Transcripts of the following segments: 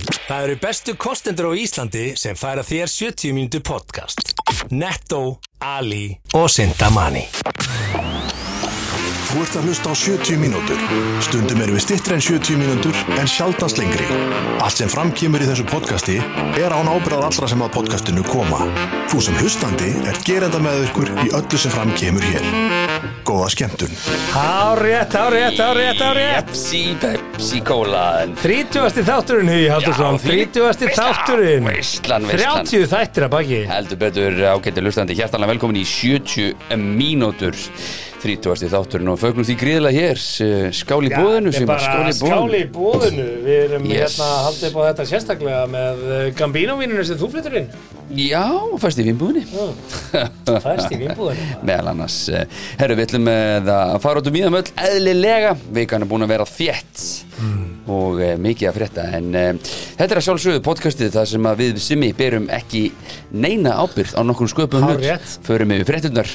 Það eru bestu kostendur á Íslandi sem færa þér 70 mínútur podcast. Netto, Ali og Sintamani. Þú ert að hlusta á 70 mínútur. Stundum erum við stittri en 70 mínútur en sjaldast lengri. Allt sem framkýmur í þessu podcasti er án ábyrðað allra sem að podcastinu koma. Þú sem hlustandi er gerenda með ykkur í öllu sem framkýmur hér. Góða skemmtun. Hárétt, hárétt, hárétt, hárétt Pepsi, Pepsi, Cola en- 30. þátturinn, Hugi Haldursson Já, þvílík 30. veisla, þátturinn veislan, veislan. 30 þættir að baki Heldur betur ágættir lustandi Hjartanlega velkomin í 70 mínútur 30. þátturinn og fögnum því gríðilega hér eh, Skál í bóðinu Þetta er bara skáli í bóðinu Við erum Yes. hérna að halda upp á þetta sérstaklega með Gambínóvininu sem þú flyttur inn Já, fæst í vinnbúðinu Fæst í vinnbúðinu Meðal annars eh, Herru, við ætlum eh, að fara út um íðan öll Eðlilega, vikan er búin að vera þétt Og e, mikið að frétta En e, þetta er að sjálfsögðu podcastið Það sem að við simmi berum ekki Neina ábyrgð á nokkur sköpum hlut. Hárrétt. Förum yfir fréttunar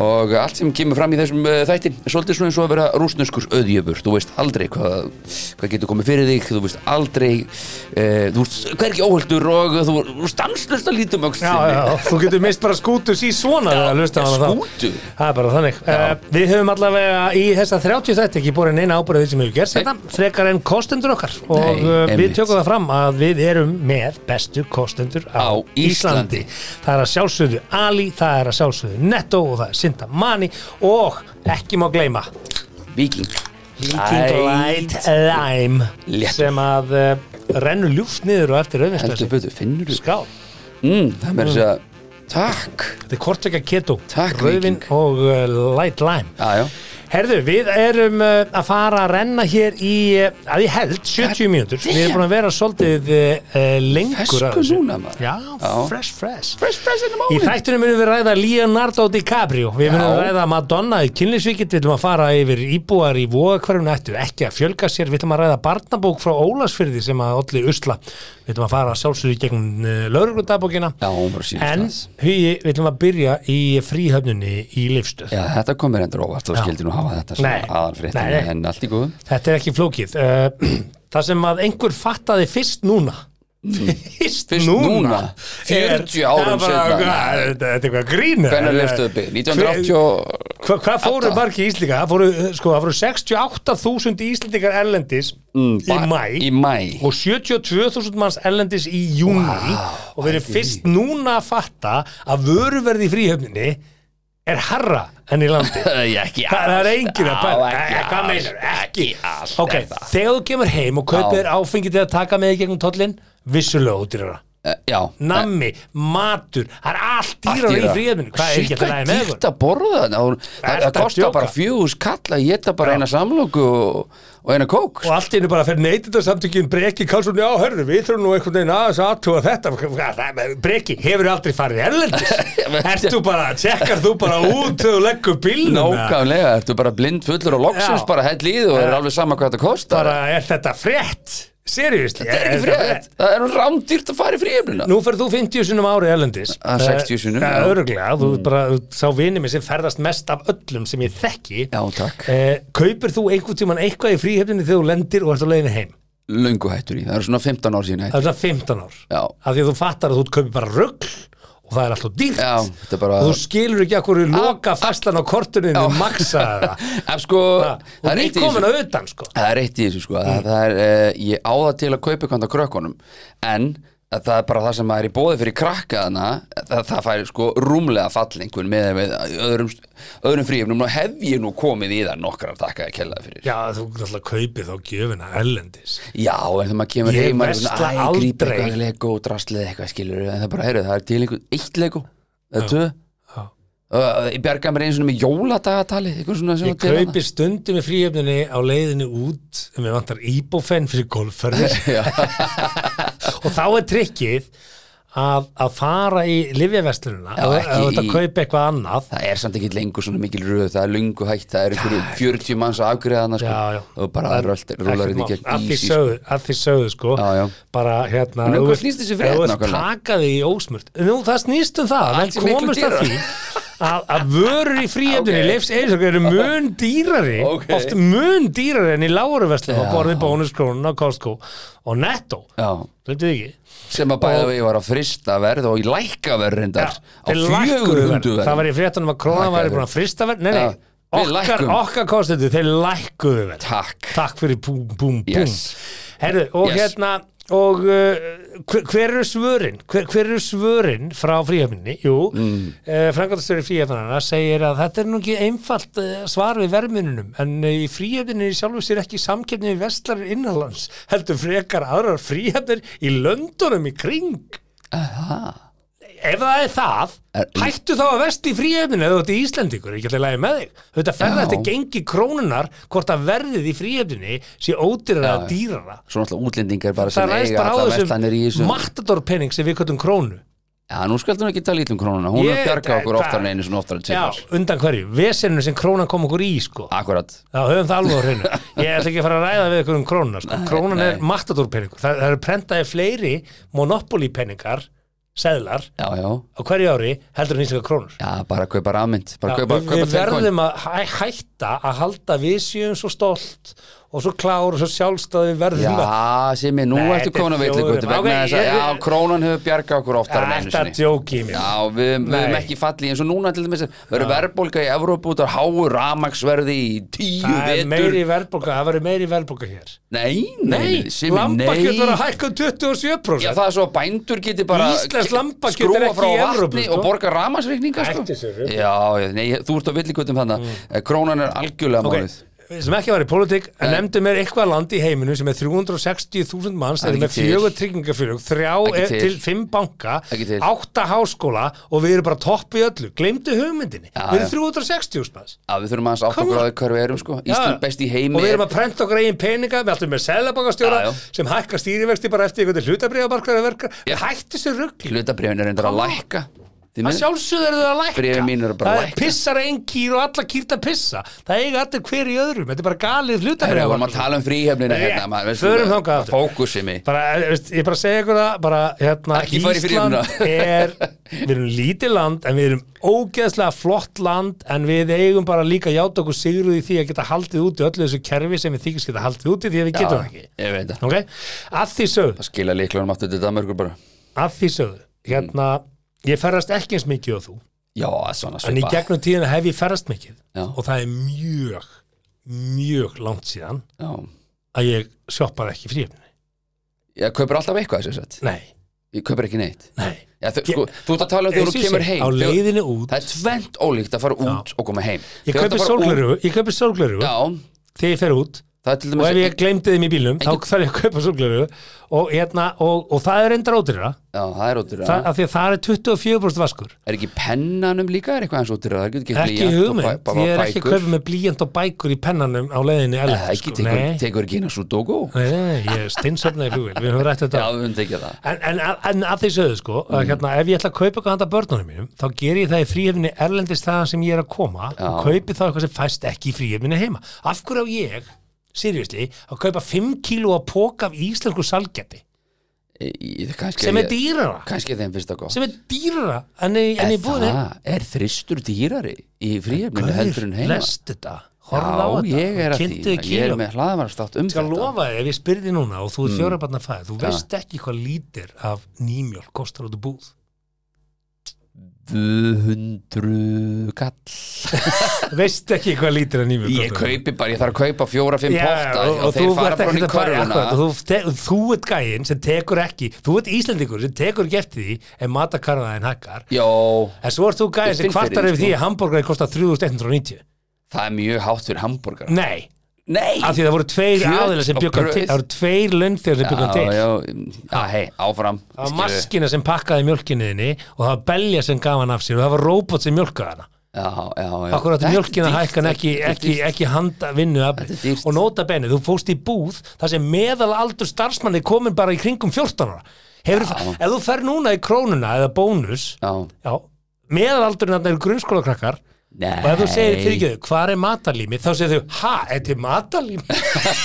Og allt sem kemur fram í þessum e, þætti er Svolítið svona eins og að vera rúsnuskur öðjöfur Þú veist aldrei hvað, hvað getur komið fyrir þig Þú veist aldrei e, Þú veist hvergi óhöldur og þú, þú stanslust að lítum öxl Já, já, þú getur mist bara skútus í svona þegar að hlusta á hana þá. skútu. Það er bara þannig uh, Við höfum allavega í þessa 30 þætti ekki borin eina ábyrðið sem við gerst þetta frekar en kostendur okkar og Nei, Nei, við einmitt. tökum það fram að við erum með bestu kostendur á, Á Íslandi. Íslandi. Það er að sjálfsögðu Ali, það er að sjálfsögðu Netto og það er Sinta Mani og ekki má gleyma Viking Viking Light Lime Léttur. sem að uh, rennur ljúft niður og eftir Heldur auðvinstöðsum betur, finnur þú Skál mm, Það er með þess að Takk Þetta er kortvekja keto, Takk, rauðin Víking. og uh, light lime Já, já Herðu, við erum uh, að fara að renna hér í, uh, að ég held, 70 mínútur. Við erum búin að vera svolítið uh, uh, lengur að Fesku þessu. núna maður Já, Já. fresh, fresh. Fresh fresh in the Í morning þættunum munum við ræða Leonardo DiCaprio, við munum Já. ræða Madonna í kynlisvíkitt, við ætlum að fara yfir íbúar í vóakverfinu ættu ekki að fjölga sér, við ætlum að ræða barnabók frá Ólasfyrði sem að olli usla, við ætlum að fara sjálfsögðu gegn uh, lauruglundabókina, Já, hún var en síðan hugi, við ætlum að byrja í fríhöfnunni í Leifstöð. Já, þetta kom mér endur óvart og skildi nú hafa þetta Nei. Nei, aðalfréttin nei. en allt í góðum Þetta er ekki flókið. Uh, það sem að einhver fattaði fyrst núna. Fyrst, Mm. Fyrst núna. 40 árum seinna. setna Þetta er eitthvað eh, grínur Hvenær liftuðu bygg? 1980 og- Hva, Hvað fóru Átta. margi íslendingar? Það fóru, uh, sko, það fóru 68.000 íslendingar erlendis Mm, í Ba- mæ Í mæ og 72.000 manns erlendis í júni og við erum fyrst núna að fatta að vöruverði í fríhöfninni er harra enn í landi Æ, Ekki Það það er enginn að Já, bæta ekki Æ, Hvað allt, meinar, ekki allt Ok, er það. þegar þú kemur heim og kaupir þér áfengi til að taka með í gegnum tollin Vissulega ódýrara Eh, Já Eh, Nammi, matur, það er allt dýrara í fríðminu Hvað er ekki að það læða með dýrt ykkur? að borða þarna? Hún- Ertu Það að það kostar djóka? bara fjögus kall að geta bara eina samlóku og og eina kók Og allt í einu bara fyrir neytindarsamtökin Breki Karlsson, já, hörru, við þurfum nú einhvern veginn aðeins að aðtúa þetta Hvað, það er- Breki, hefur aldrei farið erlendis? Ert þú bara, tjekkar þú bara út þegar þú leggur bílnum? eða? Nákvæmlega, ertu bara blind fullur og loksins Já. bara hell í þú og er alveg sama hvað þetta kostar Bara, er þetta frétt? Seriðisli? Þetta er ekki frétt, það er nú rándýrt að fara í fríöfnina Nú ferð þú 50 sinum ári erlendis Að 60 sinnum, Það já. er öruglega, þú mm. bara sá vinið mér sem ferðast mest af öllum sem ég þekki Já, takk. Eh, Kaupir þú einhvern tímann eitthvað í fríhefninni þegar þú lendir og ert á leiðinni heim Lungu hættur í, það er svona 15 ár síðan Það hættur er svona 15 ár Já. Af því að þú fattar að þú kaupir bara rugl og það er alltaf dýrt Já, þetta er bara og þú skilur ekki að hverju loka fæslan á kortunni þinni maksa það Ef sko, og það er við eitt í komin þessu að utan sko Það er eitt í þessu sko, að það er eh, ég á það til að kaupa eitthvað handa krökkunum en að það er bara það sem er í bóði fyrir krakkaðana, það, það fær sko rúmlega fallingun með, með öðrum, öðrum fríöfnum og hef ég nú komið í það nokkrar takkaði kellaði fyrir Já, þú alltaf kaupir þá gjöfina erlendis Já, en þegar maður kemur Ég heim maður er versla svona, æ, grípa aldrei. eitthvað lego og draslið eitthvað skilur en það bara, heyrðu, það er til einhver eitt lego eða tvö Já. Uh, ég bjargaði mér einu svona með jóladagatali eitthvað svona sem Ég kaupi stundum í fríöfninni á leiðinni út en við vantar íbófenn fyrir golfferðir og þá er trikkið að, að fara í livjaverslununa Já, og ekki þetta í- kaupi eitthvað annað það er samt ekki lengur svona mikil röð það er lungu hægt, það er einhverju 40 manns að afgreðana sko, Já, já. og bara það röld, rúlar þetta Ekkert mál. að gegn því ísi sko. sögðu, að því sögðu sko Já, já. bara hérna En um ef hvað þú ert- snýst þessi ef frétt þú ert nákvæmlega? takaði í ósmurt nú það snýst um það, Allt menn sé miklu komust að dýrara. því að, að vörur í fríhjöndinni Ok. okay. Leifs Eiríksson eru mun dýrari Ok. oft mun dýrari enn í lágur veslu á Já. borði bónuskrónun á Costco og Netto, Já, hlutuðu ekki sem að bæða við var að frista verð og í lækka verð reyndar á þeir lækkuðu verð. 400 verð það var í fréttanum að krónan Lækkaði væri búin verð. að frista verð nei, nei, Já, við okkar, lækkum. okkar kostendur, þeir lækkuðu verð Takk, takk fyrir búm, búm, búm Yes. Herðu, og Yes. hérna og uh, hver, hver eru svörin hver, hver eru svörin frá fríhafninni jú, mm. uh, frangatastöri fríhafnana segir að þetta er nú ekki einfalt uh, svar við verðmununum en uh, í fríhafninni sjálfu sér ekki samkefni við vestlarir innanlands, heldur frekar aðrar fríhafnir í löndunum í kring ef það er það Er- hættu þá að vesti í fríhefninu eða þú ert í Íslendingur, ekki alltaf lægi með þig þetta ferða Já. eftir gengi krónunar hvort að verðið í fríhefninu sé ódýrara að dýrara svo náttúrulega útlendingar bara sem það ræðist eiga bara á allar vestanir í þessum þessu matadorpenning sem við köttum krónu Já, nú skaldu hún ekki tala ítlum krónuna, hún er Ég- að bjarga okkur það- oftar en einu svona oftar en já, tveimar undan hverju, vesenu sem krónan kom okkur í sko. Akkurat, þá höfum það alveg á hreinu ég ætla ekki að fara að ræða við ykkur um krónuna sko. krónan er nei. matadorpenningur, það, það eru prentaði fleiri monopoly penningar seðlar já, já, á hverju ári heldur en íslenska krónur já, bara kaupa rafmynd bara Já, kaupa, við, kaupa við telkon verðum að hæ- hætta að halda við séum svo stolt og svo klár og svo sjálfstæði verðum Já, að Simi, nú Nei, þetta ertu er komin að veitlega þjóðin. vegna Ok, þess að, ég- já, krónan hefur bjarga okkur oftar en einu Ah, Þetta sinni djóki í mér Já, við við höfum Nei. ekki fallið eins og núna til þess að verður verðbólga í Evrópu út af háu ramaksverði í tíu Það er vetur meiri verðbólka, það verður meiri verðbólka hér Nei, nei, Simi, lambakjöt var að nei hækka um Já, 27% það er svo að bændur geti bara Íslenskt lambakjöt er skrúa ekki frá í vatni Evrópu, sko. og borga ramaksreikninga sko. Hættu þessu rugli. Já, já, nei, þú ert á villigutum þannig mm. Krónan er algjörlega Ok, málið Við sem ekki var í pólitík, en nefndu mér eitthvað land í heiminu sem er 360.000 manns Það er eða með ekki til. fjögur tryggingafélög, þrjá Ekki e- til. til fimm banka, Ekki til. átta háskóla og við erum bara topp í öllu, gleymdu hugmyndinni Já, við já. erum 360.000 manns Já, við þurfum aðeins átt Come okkur á on. því hver við erum sko Ísland best í heimi og við erum er- að prenta okkar eigin peninga við ætlum með Já, selabakastjóra já. sem hækkar stýrivexti bara eftir einhvern hlutabriðabarkar að verka Já. hætti þessu ruggli Hlutabréfin er reyndar að lækka að Þið munið- sjálfsögðu eru þau að lækka Bréfin mín eru bara að það lækka. pissar einn kýr og alla kýrt að pissa það eiga allir hver í öðrum þetta er bara galið Herra, Við vorum hlutabriðabarkar að tala um fríhefnina Rétt. hérna maður, veistu, Förum bara- þangað aftur. Fókusi mig bara, eh, veist, ég bara segi ykkur það bara, hérna, Ekki fara í fríhöfnina. er við erum lítið land en við erum ógeðslega flott land en við eigum bara líka að játa okkur sigruð í því að geta haldið út í öllu þessu kerfi sem við þykist geta haldið út í því að við getum það ekki Ég veit það ok, að því sögðu Það skila líklunum aftur til Danmörkur bara að því sögðu, hérna ég ferðast ekki eins mikið og þú Já, það er svona en í svipa gegnum tíðina hef ég ferðast mikið Já. og það er mjög mjög langt síðan Já. að ég sjoppaði ekki fríöfni Ég kaupir alltaf eitthvað þess að nei, Ég kaupir ekki neitt nei Já, þau- sko, Þú ert að tala um þegar Eins og þú ég kemur segi, heim á Þegar- leiðinni út Það er tvent ólíkt að fara út og koma heim ég Þegar þú ert kaupi að fara út- sólgleru ég kaupi sólgleru Já, þegar ég fer út það er til og dæmis ef ég glemdi þeim í bílum þá þarf ég að kaupa sólgleru og, hérna, og, og það er enda rótirra Já, það er óttur það, af því að það er 24% vaskur Er ekki pennanum líka, er eitthvað eins óttur Það getur ekki ekki blýant og bæ- hugmynd, bara ég er ekki að bækur. kaupa með blíjant og bækur í pennanum á leiðinni Nei, erlendis, Það ekki, sko. tekur, Nei. tekur ekki hérna sudoku Nei, nei, nei, ég stinnsöfnaði flugvél, við höfum rætt Já, þetta við höfum tekið það En, en, en að því sögðu sko, að, Mm. hérna, ef ég ætla að kaupa eitthvað handa börnunum mínum, þá ger ég það í fríhefninni erlendist þaðan sem ég er að koma og Já. kaupi þá eitthvað sem fæst ekki í fríhefninni heima. Af hverju á ég, seriously, að kaupa 5 kíló að póka af íslensku salgeti, Í- í- kannski, sem er ég- dýrara, Kannski þeim finnst það gott sem er dýrara en, í- en Er ég búið það, er þristur dýrari í fríhefninu heldur en heima lest þetta, horfða á Já, ég er þetta, að því kynntu þið Ég er kíló. með hlaðvarastátt um Ég skal þetta lofa þér, ef ég spyrði núna og þú er mm. fjórabarna fæðið, þú veist ekki hvað lítir af nýmjólk kostar út úr búð. 200 kall veist ekki hvað lítir að nýmjólk Ég kaupi bara, ég þarf að kaupa fjóra, fimm potta og, og og þú þeir fara ert bara ekki í að fara körfuna akkurat, og þú, te, þú ert gæinn sem tekur ekki þú ert Íslendingur sem tekur ekki eftir því ef matakarfaðin hækkar Jó, en svo ert þú Ég gæinn sem finn fyrir kvartar því, yfir sko. því að hambúrgari kostar 3190 það er mjög hátt fyrir hambúrgar nei, Nei, af því það voru tveir Kjöt aðilar sem og bjökkum brauð. til það voru tveir lönnþjóður sem bjökkum já, til já, já, hei, áfram það var skilur. maskina sem pakkaði mjölkinniðinni og það var belja sem gaf hann af sér og það var róbot sem mjölkaði hana Já, já, já Akkur átti Þetta er mjölkin að dýrt, hækka en ekki, þetta er ekki, dýrt. ekki handa vinnu afli. Þetta er dýrt. Og nota benni, þú fóst í búð þar sem meðal aldur starfsmanni komin bara í kringum 14 ára. Hefur, ef þú fer núna í krónuna eða bónus, Já, já, meðalaldurinn þarna eru grunnskólakrakkar Nei. Og ef þú segir fyrir ekki þau, hvað er matalími? Þá segir þau, ha, er til matalím?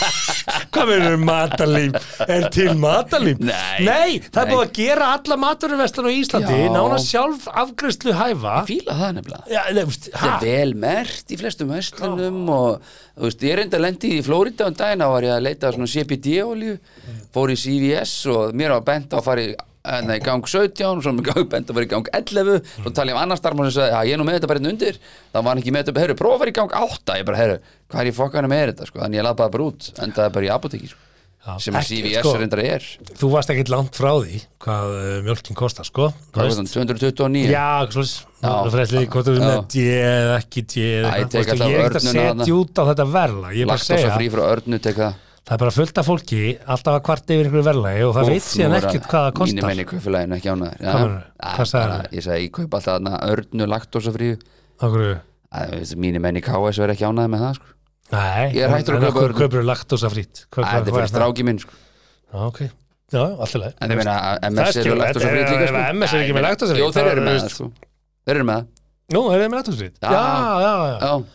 hvað verður matalím? Er til matalím? Nei. það er Nei. búið að gera alla maturvestan á Íslandi, Já. nána sjálf afgreðslu hæfa. Fíla það nefnilega Já, nei, veist, ha? Þetta er vel mert í flestum verslunum og þú veist, ég reyndi að lendi í Flórida um daginn þá var ég að leita að svona CBD-olju Mm. fór í CVS og mér var bent á að fara í Nei, gang 17, svo mér gang bent að fara í gang 11 Mm. svo tala ég um annar starfmann sem sagði já, ég er nú með þetta bara einn undir, þá var hann ekki með þetta herru, prófa að fara í gang 8, ég bara, herru, hvað er ég fokkanum með þetta, sko, þannig ég laði bara bara út endaði bara í apoteki, sko, Já, sem að ekki, CVS sko. reyndar er, Þú varst ekkit langt frá því hvað uh, mjölkin kostar, sko. Þú hvað veist, var það, 229 Já, svona, Já. það fræðsli hvort þú er með Já. D eða ekki D eða Æ, eitthvað, tek þú veist, alltaf ég er ekkert að örnuna þarna. setja út á þetta verla ég er bara að lagt á segja, frá örnu, tek það það er bara fullt af fólki alltaf að kvarta yfir einhverju verlaði og það veit síðan ekkert hvað það Mínu kostar meini kaupfélaginu ekki ánæður Hvað meinarðu? Hvað sagðirðu? Ég sagði, ég kaup alltaf þarna örnu laktósafríu Okkur, Mínu meini KS verið ekki ánæður með það sko. nei, Ég er hættur að kaupa okkur örn. kaupur laktosa frýtt Æ, Þetta er fyrir stráki minn sko. Ok, já, alltaf leið En ég meina, að MS skilur, eru þetta laktósafríu er- líka sko. ef MS er ekki Æ, ég með meina- laktósafríu, Jú, þá þeir eru eru með veist- það sko. Þeir eru með það Nú, er þið með laktosa frýtt? Já. Já, já, já, Já,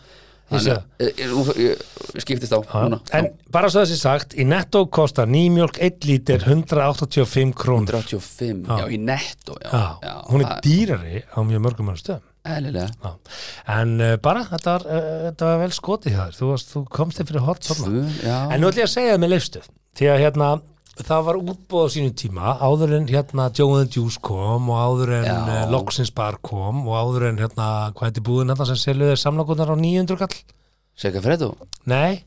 Ég sé það. Þannig, eh, ég- ég- nú- ég- ég skiptist á já. núna. En bara svo þessi sagt, í netto kostar nýmjólk 1 lítir 185 krónur 35, já, í netto já, Já, já, hún er það- dýrari á mjög mörgum mörgum stöðum Eðlilega Já. En uh, bara, þetta var, uh, þetta var vel skotið hjá þér, þú, varst, þú komst þér fyrir hot svona. Tvö, já. En nú ætlum ég að segja það með leifstuð, því að hérna, það var útbúð á sínum tíma, áður en hérna Joe and the Juice kom og áður en Já. uh, Loxins Bar kom og áður en hérna, hvað heitir búðin hérna sem seljuði samlokunar á 900 kall? Seka Fredo Nei,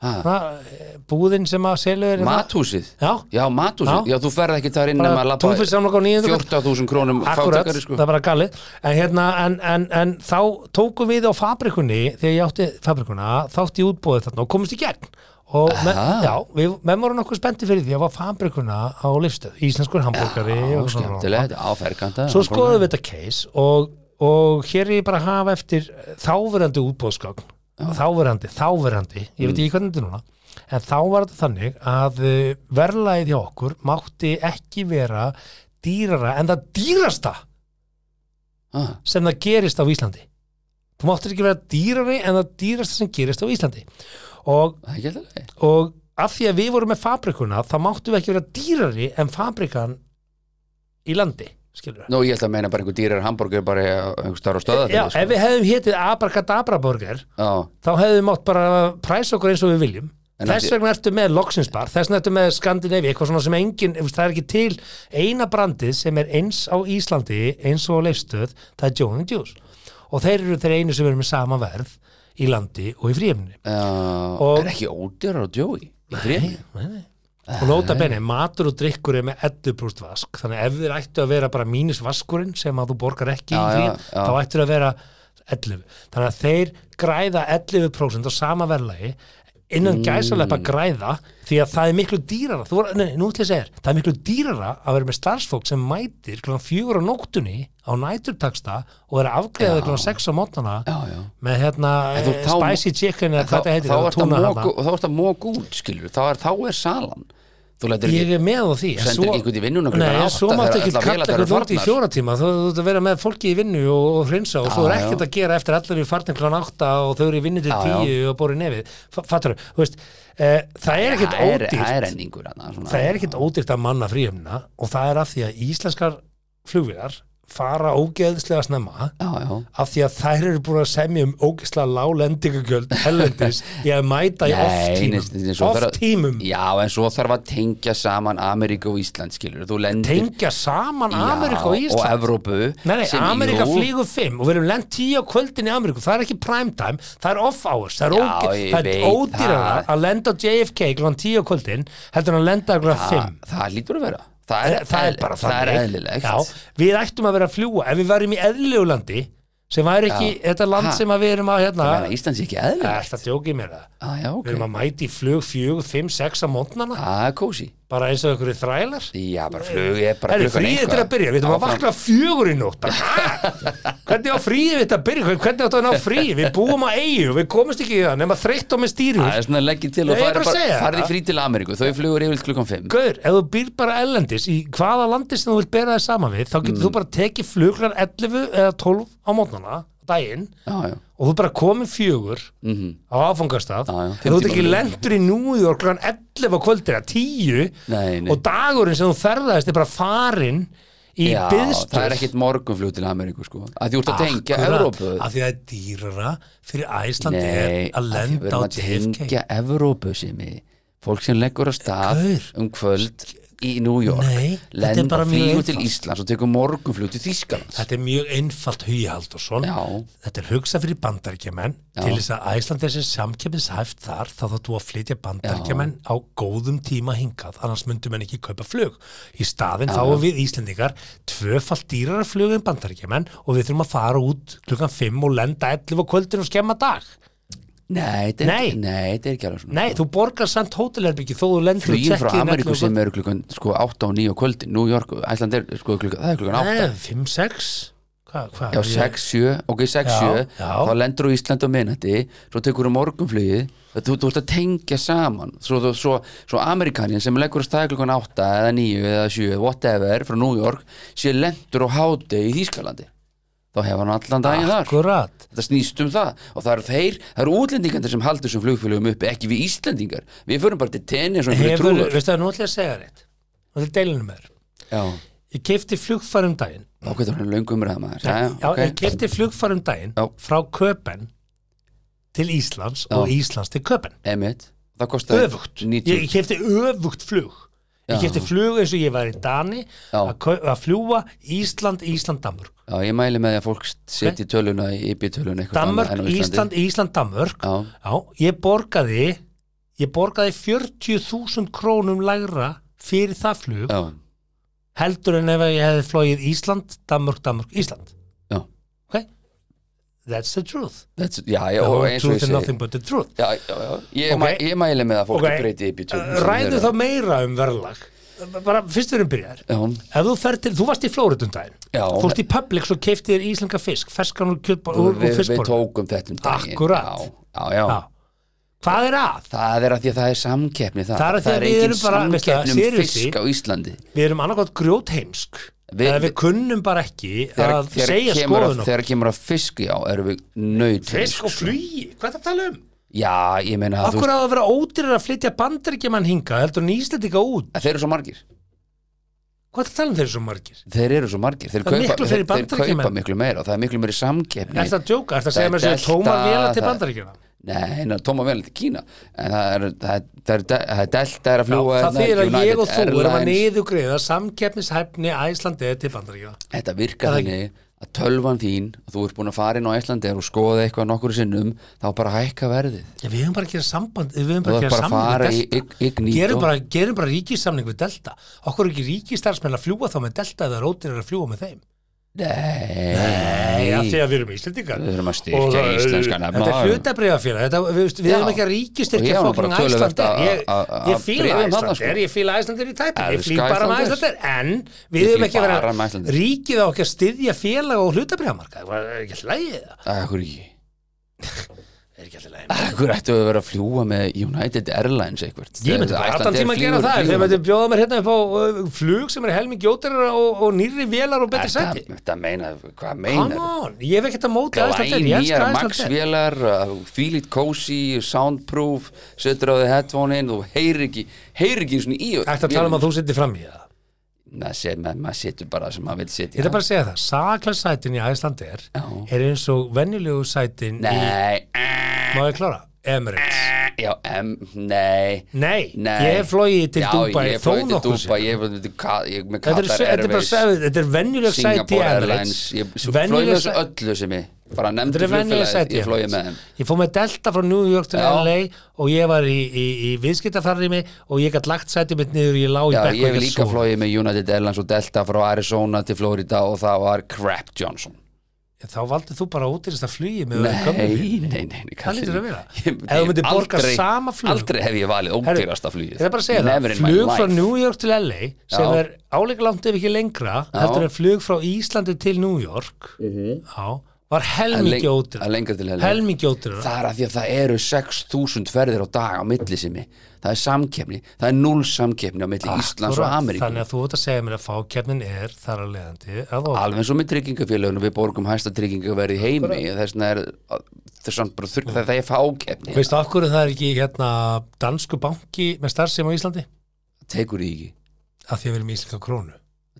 Ha, það, eh, búðin sem að seljuði hérna. Mathúsið Já, Já, matúsið, Já. já, þú ferð ekki þar inn nema að bara labba túnfyrst samlokun á 900 kall. 14.000 krónum Akkurat, fátakari sko það er bara galið en, hérna, en, en, en þá tókum við á fabrikunni, þegar ég átti fabrikuna þátti ég útbúið þarna og komist í gegn og me, Aha. já, við, menn voru nokkuð spendi fyrir því að var fabrikuna á lifstöð íslenskur hambúrgari Já, og svona. skemmtilegt, áferganda svo skoðum við þetta case og, og hér er ég bara að hafa eftir þáverandi útbúðsgögn þáverandi, þáverandi, Mm. ég veit ekki hvernig þetta er núna en þá var þetta þannig að eh, verðlagið hjá okkur mátti ekki vera dýrara en það dýrasta ah, sem það gerist á Íslandi þú máttir ekki vera dýrari en það dýrasta sem gerist á Íslandi og, Það er ekki alltaf leið og af því að við vorum með fabrikuna þá máttum við ekki vera dýrari en fabrikan í landi skilur Nú, ég ætla að meina bara einhver dýrar hambúrgur bara einhver starf á stöða Já, ef við hefðum hétið Abracadabra borger Já, þá hefðum við mátt bara præsa okkur eins og við viljum En af þess því- vegna ertu með Loxinsbar, þess vegna ertu með Skandinavi, eitthvað svona sem engin þú veist, það er ekki til eina brandið sem er eins á Íslandi, eins og á leifstöð það er Joe and Juice og þeir eru þeir einu sem eru með sama verð í landi og í fríemni já Og- Er ekki ódýrar á djói? Í frémi? og nota benni, matur og drikkur er með 11% vask, þannig ef þeir ættu að vera bara mínus vaskurinn sem að þú borgar ekki í Já, já, fríin, já. þá ættu að vera 11, þannig að þeir græða 11% á sama verðlagi innan mm. gæsaleppa græða því að það er miklu dýrara þú, voru- nei, nú ætla ég að segja, þér, það er miklu dýrara að vera með starfsfólk sem mætir kl. fjögur á nóttunni á næturtaksta og er að afgreða kl. 6 á mótnana Já, já með hérna En þú- eh, þá- spicy chicken eða hvað Þá það er heitir eða tuna þarna. þetta mók út, skilur Þá er, þá er salan Þú lætur ég ekki er með á því en sendir svo- einhvern í vinnuna klukkan Nei, en átta svo þegar máttu ekki allar kalla vélarnar eru eitthvað út í farnar. fjóra tíma þú þú ert að vera með fólki í vinnu og, og hrinsa og þú er Já, ekkert já. að gera eftir allir í farnir klán átta og þau eru í vinnu til Já, já. tíu og borið nefið F- fattarðu, þú veist, e, það er ekkert Það er- Það er ódýrt enningur hana, svona. það er ekkert ódýrt að manna fríumna og það er af því að íslenskar flugvilar fara ógeðslega snemma Já, já af því að þær eru búin að semja um ógeðslega lálendingugjöld hellendis í að mæta í Nei, nei, nei, svo off-tímum þarf að- off-tímum Já, en svo þarf að tengja saman Ameríku og Ísland, skilur Þú lendir tengja saman Já, Ameríku og Ísland og Evrópu Nei, nei, sem Amerika jú, flýgur fimm og við erum lent tíu á kvöldin í Ameríku það er ekki prime time, það er off hours það er, Já, óge- ég það veit er ódýrara það. að lenda á JFK kl. tíu á kvöldin heldur en að lenda kl. það, fimm Eh, það lítur að vera það það, er, það er bara það er þannig. eðlilegt Já, við ættum að vera að fljúa ef við værum í eðlilegu landi sem væri ekki Já. þetta land Ha. sem að við erum að hérna, það meina Íslands ekki eðlilegt þetta djókið mér það ah, já, við erum ok, að mæti flug fjögur, fimm, sex á mótnana það er kósi bara eins og ykkur í þrælar já, bara flug er bara Það er klukkan fríið eitthvað. til að byrja, við ætlum að Áfram. vakna fjögur í nótt bara, ha? Hvernig á fríið við þetta að byrja Hvern- Hvernig áttu að ná fríið, við búum að eigu Við komumst ekki í það, nema þreytt og með stýrjur það er svona leggin til Nei, og ég er bara farið að segja bara farið í það. frí til Ameríku þau flugur yfirleitt klukkan 5 Gaur, ef þú býr bara ellendis í Mm. hvaða landi sem þú vilt bera þér saman við þá getur þú bara tekið fluglar 11 eða 12 á mótnana daginn já, já, og þú er bara komin fjögur á áfangastaf Mhm. Já, já, en þú ert 50 ekki bara. lendur í New York kl. 11 á kvöldina, 10 Nei, nei. og dagurinn sem þú ferðaðist er bara farin í já byðstöð það er ekkit morgunflug til Ameríku sko að þú ert að tengja Evrópu af því að það er dýrara fyrir Æslandi er Nei, að af því við lenda á erum að JFK tengja Evrópu sem er fólk sem leggur á stað Gaur. um kvöld í New York Nei, þetta er lenda bara mjög flýgur til einfalt. Íslands og tekur morgunflug til Þýskalands þetta er mjög einfalt hugihald og svona Já. þetta er hugsað fyrir bandarkjamenn Já. til þess að Æslandi er sem samkeppnishæft þar þá þáttu að flytja bandarkjamenn á góðum tíma hingað annars myndum en ekki kaupa flug í staðin fáum við Íslendingar tvöfalt dýrara flug en bandarkjamenn og við þurfum að fara út klukkan 5 og lenda 11 á kvöldin og skemma dag Nei, þetta er, Nei. nei, þetta er ekki alveg svona nei, þú borgar samt hótelherbyggi þó þú lendur og Flýjum frá checkið inn 11 á Ameríku kvöldin. sem eru klukkan sko 8 og 9 á kvöldin New York, Æsland er sko klukkan, það er klukkan 8 Nei, 5, 6 Hvað, hvað? Já, Ég- 6, 7, ok, 6, Já, 7 já. þá lendur þú Ísland á minnati svo tekur þú morgunflugið þú, þú ert að tengja saman svo, þú- svo, svo Amerikanin sem leggur að staða klukkan 8 eða 9 eða 7, whatever frá New York, sé lendur á háti í Þýskalandi þá hefur hann allan daginn Ah, þar Akkurat þetta snýst um það og það eru þeir, það eru útlendingandir sem haldur sem flugfélögum uppi, ekki við Íslendingar við förum bara til tenni svona fyrir Hefur, trúður veistu það, nú ætla ég að segja þér eitt Og þetta er deilinu með þér já, Ég kefti flugfar um daginn þá getur hann löngum ræða maður já, já, Já, ok. ég kefti flugfar um daginn Já. Frá Köpen Til Íslands Já. og Íslands til Köpen Einmitt. það kostar Öfugt Ég, 90 ég kefti öfugt flug Ég Já. kefti flug eins og ég var í Dani Já. að, kau- að fljúa Ísland, Ísland, Danmörk Já, ég mæli með því að fólk setji töluna í IP-töluna eitthvað Danmörk, annað en á Ísland, Íslandi. Ísland, Danmörk Já, Já, ég borgaði ég borgaði 40.000 krónum lægra fyrir það flug já, heldur en ef ég hefði flogið Ísland, Danmörk, Danmörk, Ísland já ok, that's the truth That's, Já, já, the og whole eins og truth ég and segi nothing but the truth Já, já, já, ég, Ok. okay. ég mæli með að fólk Ok. okay. breyti IP-töluna ræðu þá meira um verðlag bara fyrst við erum byrjaðir Já, ef þú fer til, þú varst í Flóritum daginn Já. þú fórst í Publix og keifti þér íslenga fisk ferskan og kjötbór og, við, og við fiskbór tókum þetta um daginn Akkurat. Já, já, já hvað er að? Það er að því að það er samkeppni það Það er að því að við engin erum bara, veistu það, samkeppni um seriously. fisk á Íslandi Við erum annarkot grjótheimsk Við- eða við kunnum bara ekki Þegar, að þegar, segja kemur, að, skoðun okkur þegar kemur að fisk, já, erum við nöyt fisk og flugi, hvað er það að tala um? Já, ég meina að Af þú hverju á að vera ódýrar að flytja bandaríkjaman hinga heldur en Íslandika út? að þeir eru svo margir Hvað er það um þeir eru svo margir? Þeir eru svo margir, þeir Það er kaupa, miklu þeir, fyrir þeir Bandaríkjamenn. kaupa miklu meira og það er miklu meiri samkeppni Er það að djóka? Er það að segja Það mér er sér tóma delta, vela til það- bandaríkjana? Nei, ná, tóma vel til Kína en það er, það er, það er, það er delta er Já, að fljúa það þýðir að ég og þú erum að Airlines niðugriða samkeppnishæfni Æslandi til bandaríkjana. Þetta Það virkar er þannig að tölvan þín og þú ert búin að fara inn á Íslandir og skoða eitthvað nokkur sinnum þá bara hækka verðið Já, við höfum bara að gera samband, við höfum Þú bara að gera samning við Delta. ert bara að fara í Ign- Gerum Ignito bara, gerum bara ríkissamning við Delta. Okkur er ekki ríkistarfsmenn að fljúa þá með Delta eða rótir er að fljúa með þeim. Nei, af því Nei að við erum Íslandingar. Við erum að styrkja uh, íslenskan Þetta er efnahag. hlutabræðafélag, þetta, við, veist, við Já. erum ekki að Og ég ríkistyrkja var nú fókning bara töluvert Æslandir. að- Ég, að- að- ég fíla bréfum þarna, Æslandir, sko. ég fíla Æslandir í tæpi, Elsku ég flýg bara með Icelandair. Æslandir, en Ég við erum flýg ekki að bara um vera, með Icelandair. ríkið á ekki að styðja félag og hlutabræðamarka, það er ekki hlægið það. Akkur ekki Það er ekki alltaf leið. Akkur ættu að vera að fljúa með United Airlines eitthvað Ég myndi bara alltaf tíma að gera það, þegar myndi bjóða mér hérna upp á uh, flug sem er helmi gjótarara og, og nýrri vélar og betri sæti. Þetta meina, hvað Come meinar on, ég hef ekkert að móta Æslandir, ég glænýjar elska Æslandir. maxvélar þvílít kósi, soundproof setur á því headphone in og heyrir ekki heyrir ekki svona í Ætti að tala um að þú sittir fram í það. maður set, mað, mað setur bara sem maður vil Ég ætla setja bara að segja það, saklasætin í Æslandir Já. er eins og venjulegu sætin í, nei, eh, má ég klára, Emirates. já, em, nei Nei, Nei. ég hef flogið til Já, Dubai ég hef þó flogið til nokkuð Dubai, sér. ég hef flogið til Ka- ég er með Þetta er, Qatar þetta er bara Airways, sæti, þetta er venjuleg sæti í Singapore Emirates. Airlines ég flóið Venjuleg þessu sæti. öllu sem ég bara nefndi Þetta er venjuleg flugfélagið, sæti. í ég flóið með þeim Emirates. Ég fór með Delta frá New York til Já. LA og ég var í, í, í viðskiptafarrimi og ég gætt lagt sæti mitt niður, ég lá í Já, bekk og ég hef gat líka sofið. flóið með United Airlines og Delta frá Arizona til Florida og það var Crap Johnson Þá valdið þú bara út í þess að flugi með gömlu vélinni. Nei, nei, nei, nei Það lítur að vera. Ég- Ef þú myndir ég- borga aldrei- sama flug. Aldrei hef ég valið Herru, ódýrasta flugið Ég er bara að segja Never það, in my flug frá life. New York til LA sem Já. er áleika langt ef ekki lengra heldur en flug frá Íslandi til New York já, var helmingi En leng- ódýrar. en lengra til helmingi. helmingi ódýrar. Það er af því að það eru 6.000 ferðir á dag á milli sinni Það er samkeppni, það er null samkeppni á milli Íslands og Akkúrat. Ameríku þannig að þú ert að segja mér að fákeppnin er þar að leiðandi að ódýr Alveg eins og með tryggingafélögunum, við borgum hæsta tryggingaverði í heimi Þess vegna er, það er samt bara þurr, það, það er fákeppni veistu af hverju það er ekki hérna dansku banki með starfsemi á Íslandi Tekur því ekki, af því að við erum íslenska krónu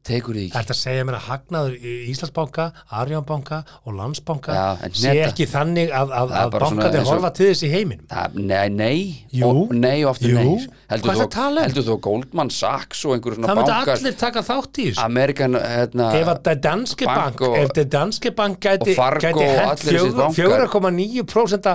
tekur því ekki Er þetta að segja mér að hagnaður í Íslandsbanka, Arjónbanka og Landsbanka Já, en sé neta- ekki þannig að, að, Það er að bara svona bankarnir eins og- horfa til þess í heiminum? Það, nei, nei, Jú. og, nei og aftur Jú. nei Hvað heldur ertu þú, að tala um? Heldur þú að Goldman Sachs og einhverjum svona Það myndi bankar allir taka þátt í þessu. Amerikan, hérna Ef að Danske Bank, Bank og- ef þetta Danske Bank gæti, og Fargo gæti og hent allir þessir fjögur- bankar. 4,9%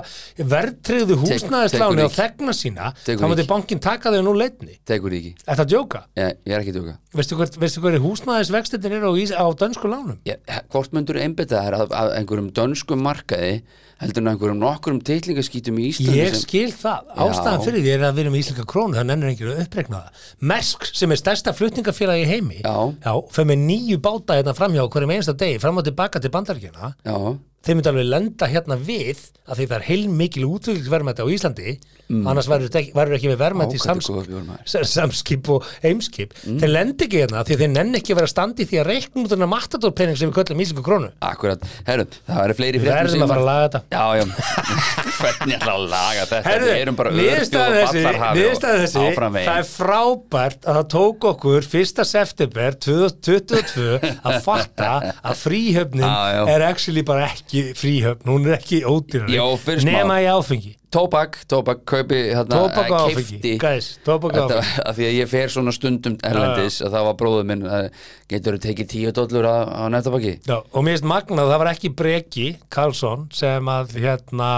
verðtriðu húsnæðisláni tekur á ekki. þegna sína, Tekur þá myndi ekki. bankin taka þau nú leitni. tekur því ekki, Þetta að djóka. ég, ég er ekki að duga Veistu hver, veistu hver húsnæðisvextinir eru á, ís- á dönsku lánum? ég, hvort myndur einbytta þær að, að einhverjum dönskum markaði heldur en einhverjum nokkurum titlingaskítum í Íslandi Ég sem- skil það, ástæðan Já. fyrir því er að við erum í Íslinga krónu, það nennir enginn að uppreikna það. Mersk, sem er stærsta flutningafélagi í heimi, Já. fer með nýju báta hérna framhjá á hverjum einasta degi, fram og tilbaka til bandaríkjana, Já, þeir myndi alveg lenda hérna við, að því það er heilmikil útviklisverðmætti á Íslandi, Mm. annars verður þetta ekki, verður ekki með verðmætti í Ákvæði samskip, góður Mm. bjór, maður. sam- samskip og heimskip. Þeir lendi ekki hérna, af því að þeir nenni ekki að vera standi því að reiknum út þennan matadórpenning sem við köllum Íslinga krónu. akkurat, herru, það eru fleiri Við fréttum verðum sem- að fara að laga þetta. Já, já, hvernig ætla að laga þetta Við erum bara niðurstaða örþjóð og þessi, ballarhafi og niðurstaða þessi áfram veginn. það er frábært að það tók okkur 1. september 2022 að fatta að Já, já. fríhöfnin er actually bara ekki fríhöfn, hún er ekki ódýrari Jó, fyrir smá. nema í áfengi Tóbak, tóbak, kaupi hérna, Tóbak og eh, áfengi, keypti- guys, tóbak og Þetta- áfengi. Af því að ég fer svona stundum erlendis að það var bróður minn að getur þú tekið tíu dollur á, á nettabaki Já, og mér finnst magnað að það var ekki Breki Karlsson sem að hérna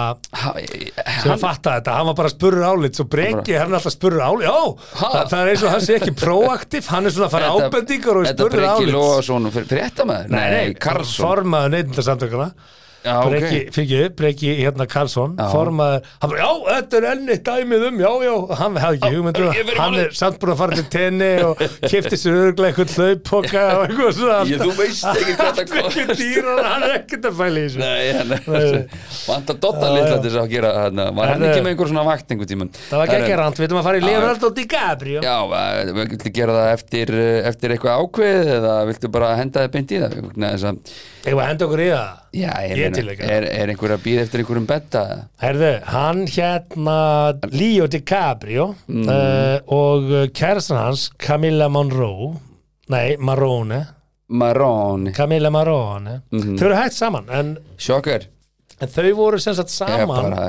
Ha, eh, ég- sem að fatta þetta, hann var bara spurur álits og Breki, hann er alltaf spurur álits já, Ha? það, það er eins og hann sé ekki proaktiv hann er svona að fara þetta- ábendingar og Þetta spurur breki álits Lóasson fyrir fréttamaður Nei, nei, Karlsson formaður neytindarsamtökuna Já, ok. Breki, fyrir, Breki, hérna Karlsson formaður, hann bara, já, þetta er enni dæmið um, já, já, hann hafði ekki hugmyndu ég verið hann málið. er samt búin að fara til tenni og kefti sér örglega eitthvað hlaupoka og eitthvað svona Ég, þú veist ekki hvað það ekki kost dýrar, hann er ekkert að fæla í þessu Nei, hann Nei. vantar dotta litla til þess að gera hérna. Var hann Herðu. ekki með einhver svona vakt einhver tíman það var ekki rand, við erum að fara í Já, já. Leonardo DiCaprio Já, eh, við viltu gera það eftir, eh, eftir eitthvað ákveðið eða viltu bara henda þið beint í það Nei, þess að, þegar við henda okkur í það já, ég, Ég til meina, ekki. er, er einhver að býða eftir einhverjum betta Herðu, hann hérna Leo DiCaprio mm. og uh, kærastan hans Camilla Monroe nei, Marone, Marón, Camilla Marone Mhm. þau eru hægt saman en, sjokkar en þau voru sem sagt Ég er saman bara,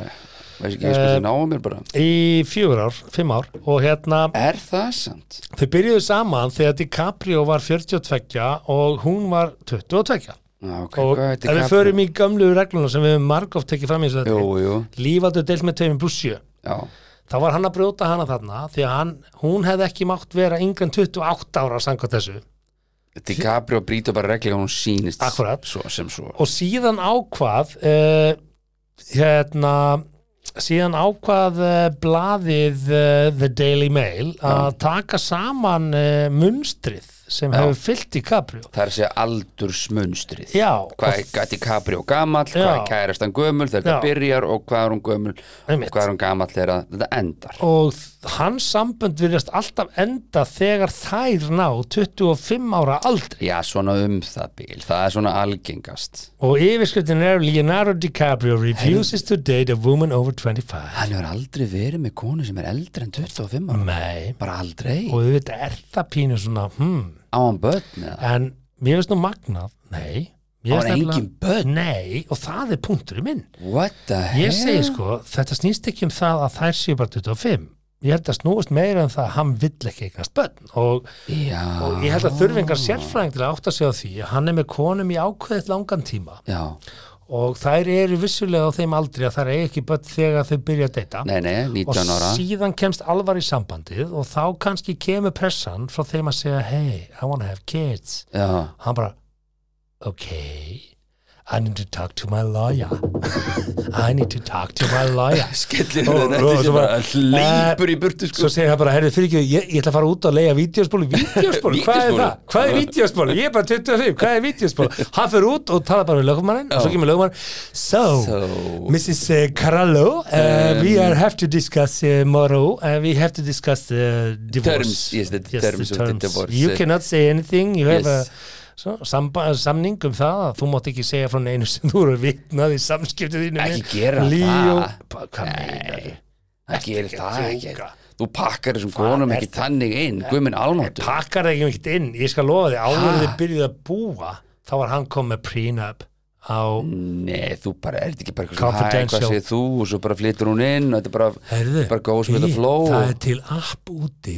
veist ekki, Eh, ég spil þið náum mér bara í fjögur ár, fimm ár og hérna, Er það samt? þau byrjuðu saman þegar DiCaprio var 42 og hún var 22 Já, ok, og hvað ef heitir við kappi? förum í gamlu regluna sem við hefum margóft tekið fram í þessu Jú, þetta jú, lífaldur deilt með tveimur pluss 7 já, þá var hann að brjóta hana þarna því að hann, hún hefði ekki mátt vera yngre en 28 ára samkvæmt þessu DiCaprio brýtur bara reglega hún sýnist Akkurat. Svo sem svo og síðan ákvað uh, hérna síðan ákvað uh, blaðið uh, The Daily Mail að taka saman uh, munstrið sem hefur fyllt í Caprio Það er að segja aldursmunstrið já, Hvað og- er DiCaprio gamall, hvað Já. er kærastan gömul þegar Já. það byrjar og hvað er hún gömul Einmitt. og hvað er hún gamall þegar að- þetta endar og þ- hans sambönd virðast alltaf enda þegar þær ná 25 ára aldri Já, svona um það bíl, það er svona algengast og yfirskriftin er Leonardo DiCaprio refuses to date a woman over 25 Hann hefur aldrei verið með konu sem er eldri en 25 ára Nei, Bara aldrei, Mm. og auðvitað er það pínu svona, hmm, á hann börn eða en mér finnst nú magnað, nei mér Á finnst hann nefnilega- engin börn? Nei, og það er punkturinn minn What the hell? Ég segi sko, þetta snýst ekki um það að þær séu bara 25 Ég held að snúast meira en það að hann vill ekki eignast börn og, Já, og ég held að þurfingar Ah. sérfræðing til að átta sig á því að hann er með konum í ákveðið langan tíma já og þær eru vissulega á þeim aldri að þær eigi ekki börn þegar þau byrja að deyta Nei, nei, 19 ára og síðan kemst alvar í sambandið og þá kannski kemur pressan frá þeim að segja hey, I wanna have kids Já, hann bara, ok I need to talk to my lawyer I need to talk to my lawyer Skellir Og- þetta og sé svo bara bara, leipur í burtu Svo sko segir hann bara, herrðu fyrir ekki, ég, ég ætla að fara út að leiða vídeospólu, vídeospólu, hvað er Vídeóspólu? það? Hvað er vídeospólu? Ég er bara 25, hvað er vídeospólu? Hann fyrir út og tala bara við lögumanninn og svo kemur lögumann So, So. Um, Mrs. eh, Carallo, uh, we are have to discuss uh, tomorrow, uh, we have to discuss the divorce. Terms, yes, the terms of the divorce. eh. You cannot say anything, you have Yes. a Svo, samba, samning um það að þú mátt ekki segja frá neinu sem þú eru vitnað í samskiptið þínu Ekki gera það. það hvað meinar Það gerir það djóka. ekki Þú pakkar þessum konum ekki tannig inn Guðminn alnáttur pakkar það ekki mikill inn ég skal lofa þig, áður Ha? en þið byrjuð að búa þá var hann kom með prenup á, Mm. Nei, þú bara, er þetta ekki bara eitthvað svona, hæ, Confidential. hvað segir þú og svo bara flytur hún inn og þetta er bara, herðu bara goes with the flow það er til app úti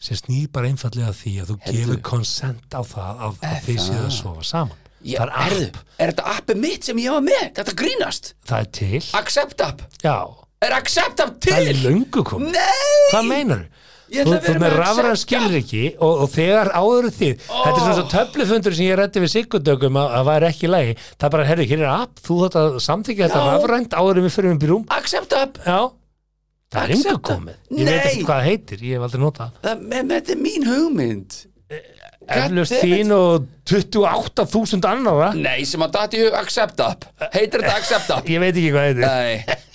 sem snýr bara einfallega að því að þú Heyrðu. gefur konsent á það að, að þið séð að sofa saman Ég- það er Herðu, app, Er þetta appið mitt sem ég hafa með? Þetta grínast það er til Accept app já, Er accept app það er til? löngu komið Nei hvað meinar þú? Ég Þú ætla að þú vera með með rafræn accept. skilriki og, og þegar áður en þið þetta er svona svo töflufundur sem ég rætti við sikkundökum að það væri ekki í lagi það er bara, herri, hér er app, þú þátt að samþykja þetta Já. rafrænt áður en við fyrir um byrjum Accept app Já, það er yngur Accepta. komið Ég veit Nei. ekki hvað það heitir, ég hef aldrei nota Það, með, með, þetta er mín hugmynd Eh, Eflust damn it. þín og 28.000 annara Nei, sem að dati hug accept app Heitir þetta accept app? Ég veit ekki hvað heitir Nei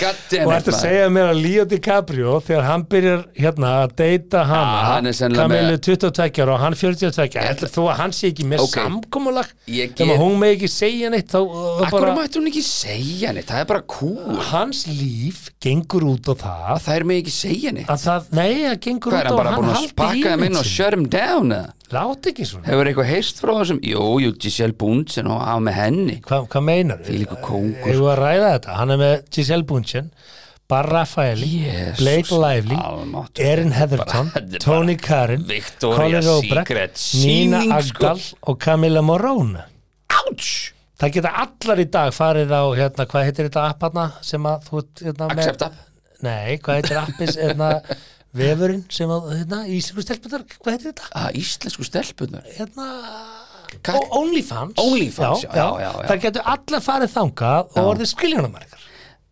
God damn Og it ertu að maður. segja mér að Leo DiCaprio þegar hann byrjar hérna að deyta hana Ah, hann er sennilega Kamilu með- 22 ára og hann 42 Heldur þú að hann sé ekki með Ok. okay. samkomulag Ég Þegar get- hún með ekki segja neitt þá þá Akkur bara mættu hún ekki segja neitt, það er bara cool Hans líf gengur út á það Það er mig ekki segja neitt að það, nei, það gengur Hvað er út hann á bara búin að haldi spaka þeim inn og ímynd sinni. shut him down eða? Lát ekki svona, Hefur eitthvað heist frá þessum? Jú, jú, Giselle Bundsen og á með henni hvað hva meinar Fylgur kókur Hefur að ræða þetta, hann er með Giselle Bundchen Bar Raffaeli, Jesus, Blake Lively almáttugur. Erin Heatherton, Bara- þetta er Tony Karin Victoria's Robrecht, Secret Nina sýning, sko. Agdal og Camilla Morone Ouch! Það geta allar í dag farið á hérna, hvað heitir þetta app hana sem að þú ert, hérna, með- Accept app. Nei, hvað heitir appis hérna, vefurinn sem að hérna, Íslingu stelpunar, hvað heitir þetta? Að íslensku stelpunar Hérna Kak- Ó- OnlyFans OnlyFans, já, já, já, já. Það getur allar farið þangað og orðið skiljónumarkar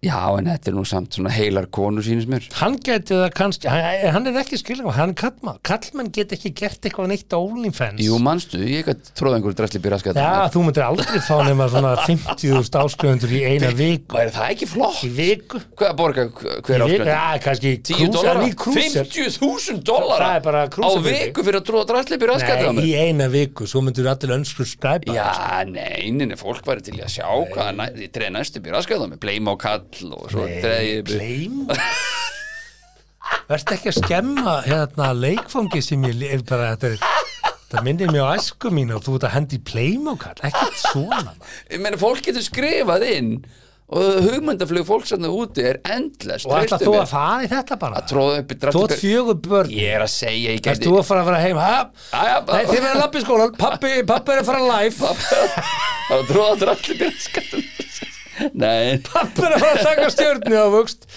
Já, en þetta er nú samt svona heilar konu sínist mér hann geti það kannski hann, hann er ekki skilgum, hann er kallmann kallmann get ekki gert eitthvað neitt á OnlyFans Jú, manstu, ég gæti tróða einhverju drasli byrjaskætt já, þú myndir aldrei fá nema svona 50.000 áskrifundur í eina viku Væri það ekki flott? í viku, Hvað að borga hver í viku áskrift? já, kannski 10 dólar? krúsar 50.000 dólar? Það er bara Á krúsar fyrir. viku fyrir að tróða drasli byrjaskætt á Nei, í mér? eina viku, svo myndir allir önskur skræpa Já, nei, neina, fólk væri til í að sjá hvað næ, ég treði næstu byrjaskætt á mér Bleim á kall og svo treði ég pleim verðst ekki að skemma hérna leikfangi sem ég er bara þetta er Það minnir mér á æsku mín og þú ert að hendi í pleimókall, ekkert svona. Ég meina, fólk getur skrifað inn og hugmyndaflug fólk sem það úti er endless Og ætla þú að fara í þetta bara? tróða upp í Þú átt drasli fjögur börn Ég er að segja, ég Erst gæti þú að fara að fara heim? Ha? Æja, Nei, þið verða að lappa í skólan Pappi, pappi er að fara live Það tróða drasli byrjaskætt Nei, Pappi er að fara að taka stjórni á vöxt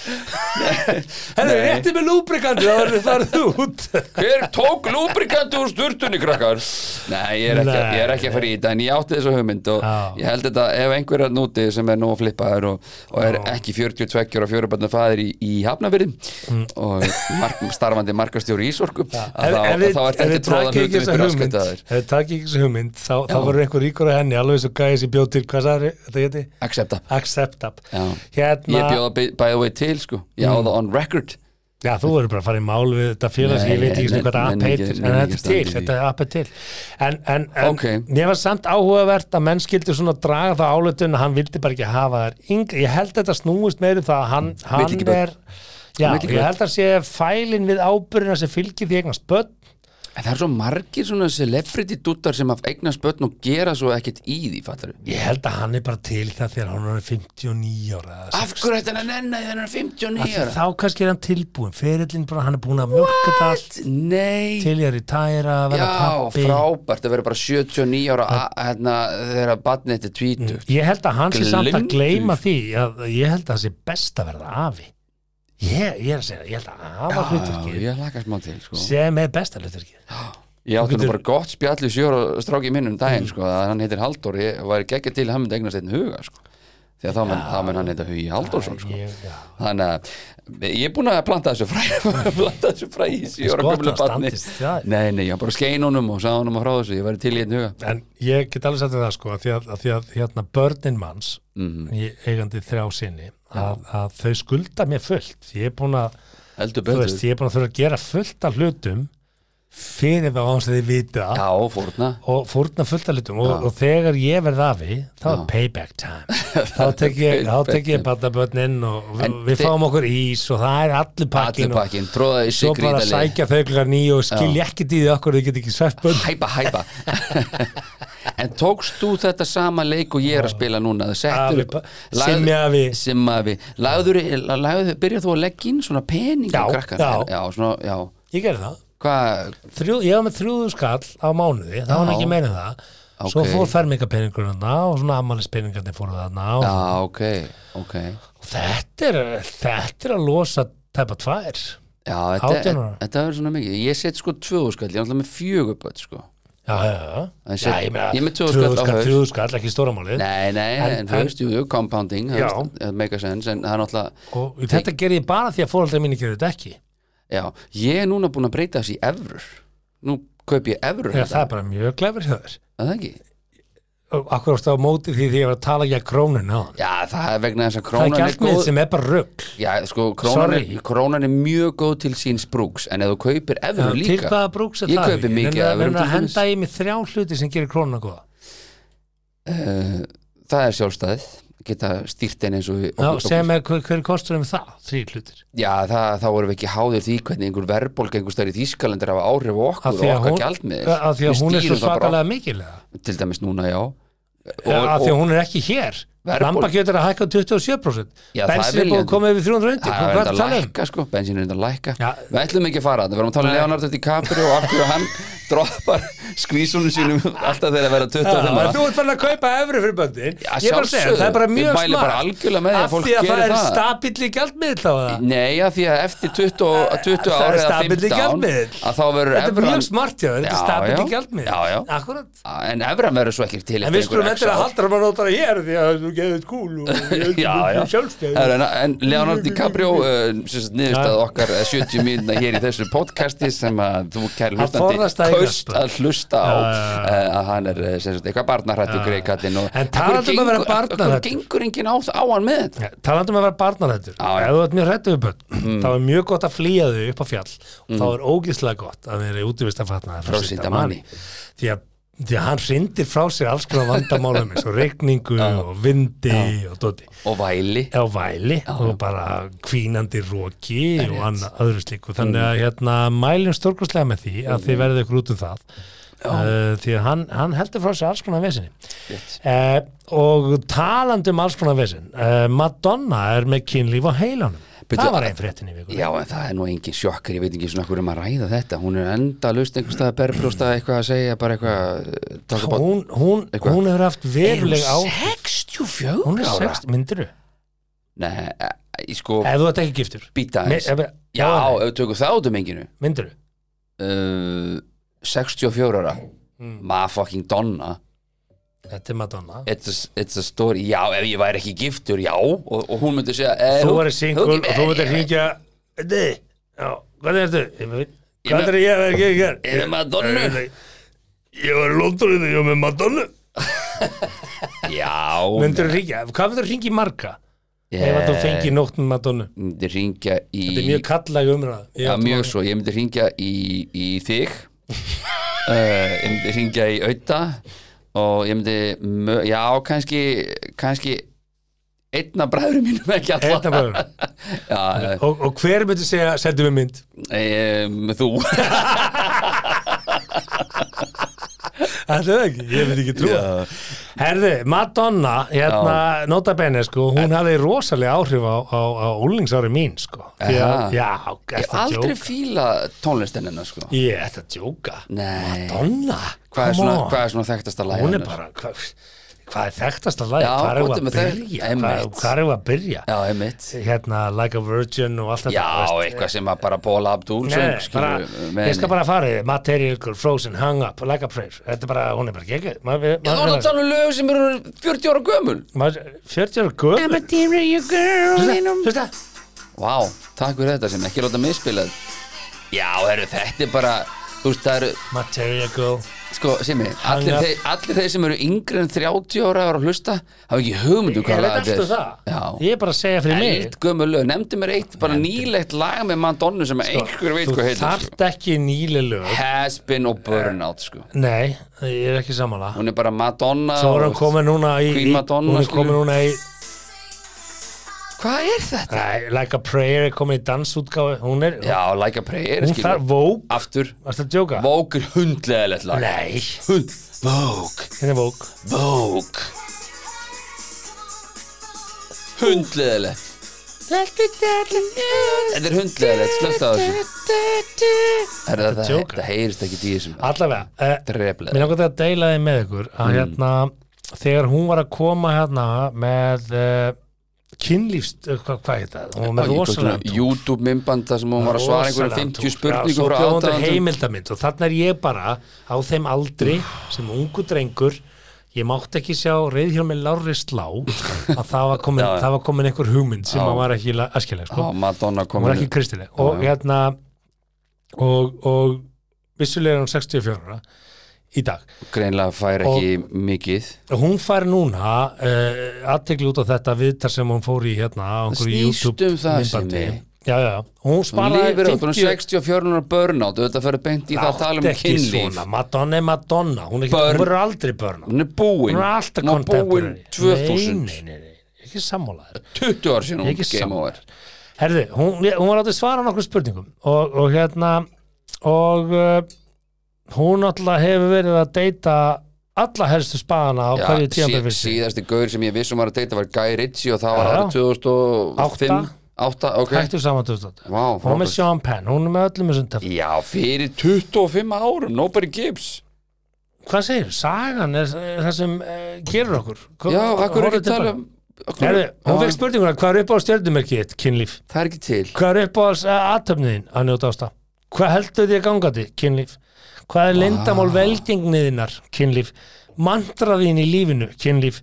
Henni, Nei. rétti með lúbrikandi Það verður farið út hver tók lúbrikandi úr sturtunni krakkar? Nei, ég er ekki, Nei. ég er ekki að fara í þetta en ég átti þessu hugmynd og Já. ég held þetta ef einhver er núti sem er nú að flippa þær og, og er ekki 42 ára fjörubarnar fæðir í, í Hafnafyrði og mark, starfandi markastjóri í Ísorku að þá, Mm. Ef við- þá ef ert ekki við tróðan takið ekki hlutum þessa ykkur hugmynd- aðsköldaður Ef þið takið ekki þessu hugmynd Þá, þá verður einhver ríkur á henni Alveg svo gæði sem bjóð til Hvað sagði þetta heiti? Accepta Accept up Já. Ég Hérna, Mm. bjóða by by the way til sko Ég á það on record já, þú verður bara að fara í mál við þetta félags, Nei, ég veit ekki svona nei, hvað það app menn ekki- heitir, en menn þetta ekki er til, standi í því. þetta app er til. En, en, en Ok. mér var samt áhugavert að menn skildi svona draga það álutun að hann vildi bara ekki hafa þær yngri. Ég held þetta snúist meir um það að hann, Vill ekki hann börn. er, já, Hann vill ekki ég börn. held að sé fælin við ábyrðina sem fylgir því eignast börn. En það er svo margir svona celebrity duttar sem að eignast börn og gera svo ekkert í því, fattar Ég held að hann er bara til það þegar hann er 59 ára. eða Af 60. hverju ætti hann að nenni þennan 59 Af því ára? Þá kannski er hann tilbúin, ferillin bara, hann er búin að mjölka það allt Nei til ég er í tæra, vera Já, pappi. frábært að vera bara 79 ára a- hérna, þegar barnið þetta er tvítugt Ég held að hann sé samt að Gleymdur. gleyma því að ég held að það sé best að verða afi ég, ég er að segja, ég held að afa Já, hlutverkið ég laka smá til sko. sem er besta hlutverkið Ég átti nú getur- Mm. bara gott spjall í sjóra stráki minn um daginn sko, að hann heitir Halldór, ég væri geggja til að hann myndi eignast einn huga sko. því að þá mun, þá mun hann heita Hugi Halldórsson sko. Ég, já. þannig að ég er búin að planta þessu fræ planta þessu fræ í sjóra Sko, gömlu það batni standist, það er- Nei, nei, ég var bara skein honum og sagði honum að frá þessu, ég væri til í einn huga En ég get alveg sagt þér það sko að því að, að, því að hérna börnin manns Mhm. ég eigandi þrjá sinni að, að þau skulda mér fullt ég er búin að, heldur þú betur, veist, ég er búin að þurfa að gera fullt af hlutum fyrir þá hans að þið vita já, fórna og fórna fullt af hlutum og, og þegar ég verð afi þá er payback time þá tek ég, þá tek ég patabörnin og við, En við þi- fáum okkur ís og það er allir allir pakkin og pakkin, tróða í svo sig bara grítalið sækja þau klukar nýju og skilja ekki dýði okkur þau get ekki sveft börn hæpa, hæpa en tókst þú þetta sama leik og ég er að spila núna þú settur Afi, upp pa- simjafi. simjafi lagður, lagður, byrjar þú að leggja inn svona pening Já, á krakkan já. já, svona, já ég gerði það hvað, þrjú, ég var með þrjúðu skall á mánuði það var nú Já. ekki meira en það svo Ókei. fór fermingapeningurna og svona ammælispeningarnir fóru þarna og já, ok ok, þetta, er, þetta er að losa tæpa tvær já, já, þetta, Átján ára. þetta er svona mikið ég set sko tvöðu skall, ég er alltaf með fjögur börn sko, já, já, En já sér- meina, ég er með tvö þúsund þrjú skall á þúsund skall, haus. þrjúðu skall, ekki stóra málið nei, nei, en, En- þú veist, jú, jú, compounding Já. það veist, make a sense, en það er náttúrulega og þetta gerði ég bara því að fórhaldri mínu gerði þetta ekki já, ég er núna búin að breyta þessi í evrur, nú kaup ég evrur hérna. já, það er bara mjög glefur hjá þér Er það ekki og akkur ástu á móti því því ég var að tala ekki að krónun á hann Já, það er vegna það þess að er krónan ekki er allt með góð sem er bara rugg Já, sko, krónan er, Sorry. krónan er mjög góð til síns brúks En ef þú kaupir evrur til líka hvaða brúks er Ég það kaupi mikið af en að evrum til dæmis. henda í mig þrjá hluti sem gerir krónuna góða uh, Það er sjálfstæðið Geta stýrt einn eins og við Já, okkur- sem er, hver, hver kostur um það? Þrý hlutir. Já, það, þá erum við ekki háðir því hvernig einhver verðbólg einhver stær í Þýskalandir hafa áhrif á okkur Af og því að okkar hún- gjaldmiðil Af því að Við hún er svo stýrum það bara- svakalega mikilega. Til dæmis núna, já Og, Og- af því og- að hún er ekki hér. Verðbólg- Lambakjöt er að hækka um 27%. Já, það er Bensin er búið viljandi. að koma yfir 300 undir. Hvað er Það er reynda að að tala um? lækka sko, bensín er reynda að lækka Já. Við ætlum ekki að fara, það verðum að tala um Leonardo DiCaprio og af hverju hann droppar skvísunum sínum alltaf þegar að vera 25 ára En þú ert fann að kaupa efri fyrir böndin Já, Ég er bara að segja, sjálfsögðu. það er bara Ég mjög mæli bara algjörlega með því að Af fólk því að það gerir er það. stabill í gjaldmiðl á það Nei, að því að eftir 20, og- 20 Það er ára eða stabill í 15 gjaldmiðill. að þá verður Þetta er evran- mjög smart hjá þér, þetta Já, er stabill já. í gjaldmiðl Já, já. Akkurat. En efran verður svo ekki til En við skulum eftir að halda hann á það hér Því að þú geðið kúl og Já, já, sjálfstæði en, en Leonardo DiCaprio uh, niðurstað okkar eh, 70 mínuna hér í þessu podcasti sem að þú kæri Hann forðast hlustandi að eignast kaust að hlusta á eh, að hann er eh, sem sagt, eitthvað barnarættu greið kallinn og En talandi um að vera barnahræddur. gengur enginn á, á hann með þetta Ja, Talandi um að vera barnarættur. Já, Mm. já. Ef þú ert mjög hrættu við börn, þá er mjög gott að flýja þau upp á fjall. Þá Mm. er ógislega gott að þeir eru útivist að fatna Frá Sindamanni. Því að því að hann hrindir frá sér alls konar vandamálum eins og regningu og vindi og dóti. og væli á væli og bara kvínandi roki og annað öðru slíku þannig að hérna mælum stórkurslega með því að þið verðið ykkur út um það uh, því að hann, hann heldur frá sér alls konar vesinni uh, og talandi um alls konar vesin uh, Madonna er með kynlíf á heilanum Bíddu, það var einn fréttin í viku Já, en það er nú engin sjokkar, ég veit ekki svona hverju maður ræða þetta Hún er enda laust einhvers staðar berbrjósta eitthvað að segja, bara eitthvað eh, taka bara- hún, hún, Eitthvað. hún hefur haft veruleg á hún 64 er ára? 60, myndiru Nei, eh, ég sko, ef þú ert ekki giftur býta Me- eins ef- Já, ef við tökum það út um enginu myndiru uh, 64 ára Hmm. Ma fucking donna þetta er Madonna it's a, it's a story, já, ef ég væri ekki giftur, já Og, og hún myndi segja eh, þú verður single þú- og þú verður hringja Nei, já, hvað er þetta? Ég veit- Hvað er ég að vera ekki hér? Eða Madonna Ég var í London þegar ég var með Madonna Já Myndur þú hringja? Hvað myndur þú hringja í marga? ég Ef að þú fengi nótt með Madonna Myndi ringja Eh. í Þetta er mjög kallag umræð Ég Já, átti mjög marga. svo, ég myndi ringja í, í þig uh, Ég myndi ringja í auða og ég myndi, mö- já, kannski kannski einna bræður mínum ekki Einn alltaf af bræðrum. já, og, og hver myndur segja, setjum við mynd um, Þú Þetta er ekki, ég veit ekki trúa Já. Herðu, Madonna, hérna, nota bene sko, hún hafði rosalega áhrif á, á, á úlingsári mín sko Því Aha. að, já, er Ég það að aldrei djóka? fíla tónlistinina sko Ég er þetta að djóka Nei, Madonna, hvað come er, svona, on hvað er svona þekktasta læg hún er hennar? bara hvað, hvað er þekktast að lagi, Já, hvað gott er með að þau. byrja Einmitt. hvað er að byrja Já, einmitt hérna, like a virgin og allt þetta Já, þú veist. eh, eitthvað sem að bara Bóla Abdúl Nei, söng, nei, skilur bara, við, með ég skal henni. bara fara yfir Material Girl, Frozen, Hung Up, Like a Prayer Þetta er bara, hún er bara gekkið Já, þú erum að tala um lög sem eru 40 ára gömul 40 ára gömur I'm a material girl in a Vá, takk fyrir þetta sem ekki láta mig spila Já, heru, þetta er bara Þú veist, það eru, Material Girl sko, Simi allir, up. þeir, allir þeir sem eru yngri en 30 ára ára að hlusta, hafa ekki um hugmyndu Ég veit alltaf það, Já, ég er bara að segja fyrir mig eld gömul lög, nefndi mér eitt bara nýlegt lag með Madonna sem einhver veit Sko, hvað Þú heitir sko. þarft ekki nýli lög Has been og Burnout sko. Nei, ég er ekki sammála hún er bara Madonna Svo er og- hún komin núna í Queen í- Madonna, Hún er skilur. komin núna í hvað er þetta? Nei, Like a Prayer er komin í dansútgáfi Hún er, Já, Like a Prayer hún skilur. þarf Vók, aftur, varstu að djóka? Vogue er hundlega lett lag Nei, Hund, Vogue, hérna er Vók Vogue hundlega lett þetta er hundlega lett slögt á þessu Herra, þetta, djóka. þetta heyrist ekki í þessum Allavega, eh, dreflega Mér langar til að deila þið með ykkur að Mm. hérna, þegar hún var að koma hérna með uh, kynlífst, uh, hvað hva heit það? Hún var með rosalega YouTube mymband þar sem hún var að svara einhverjum 50 spurningum frá aðdáðandum. Svo bjóðum aðdáðandum. heimildamind og þarna er ég bara á þeim aldri sem ungu drengur Ég mátti ekki sjá reyðhjálmi Lárri Slá að það var komin, Já, já. það var komin einhver hugmynd sem Já. að var ekki askileg sko. Já, Madonna hún kom var ekki kristileg og Já, já. hérna og, og vissulega er hún 64 ára í dag greinlega fær ekki mikið hún fær núna uh, aðtekli út á þetta viðtar sem hún fór í hérna á einhverju snýst YouTube um það, myndbandi. Simmi. já, já, hún hún sparaði lifir á bara 50 64 ára burnout þetta fyrir beint í það að tala um Láttu ekki kynlíf svona, Madonna er Madonna hún er ekki, Börn. hún verður aldrei börn hún hún er búin er alltaf hún er búin contemporary 2000 nei, nei, nei, nei, ekki sammálaður 20 ár Ég er síðan hún ekki game sammála. over Herði, hún, hún var átti að svara nokkur spurningum og, og hérna og uh, hún alltaf hefur verið að deyta alla helstu spaðana á Já, hverju tíðanbæð sí- fyrir sig síðasti gaur sem ég vissum var að deyta var Guy Ritchie og það var Já. árið 2005 8, ok hættu saman 2008 hún Vá, er með frábært. Sean Penn, hún er með öllum þessum tefnum já, fyrir 25 árum nobody gives hvað segir, sagan er er það sem uh, gerur okkur Kom- já, akkur horfðu ekki tala tilbaka. um akkur- Herði, hún Já, fekk spurninguna, hvað er upp á stjörnumerkið þitt, kynlíf? það er ekki til Hvað er upp á aðtöfniðin að njóta ásta? Hvað heldur því að ganga því? Kynlíf. Hvað er lindamál velgengniðinnar? Kynlíf. Mandraðin í lífinu? Kynlíf.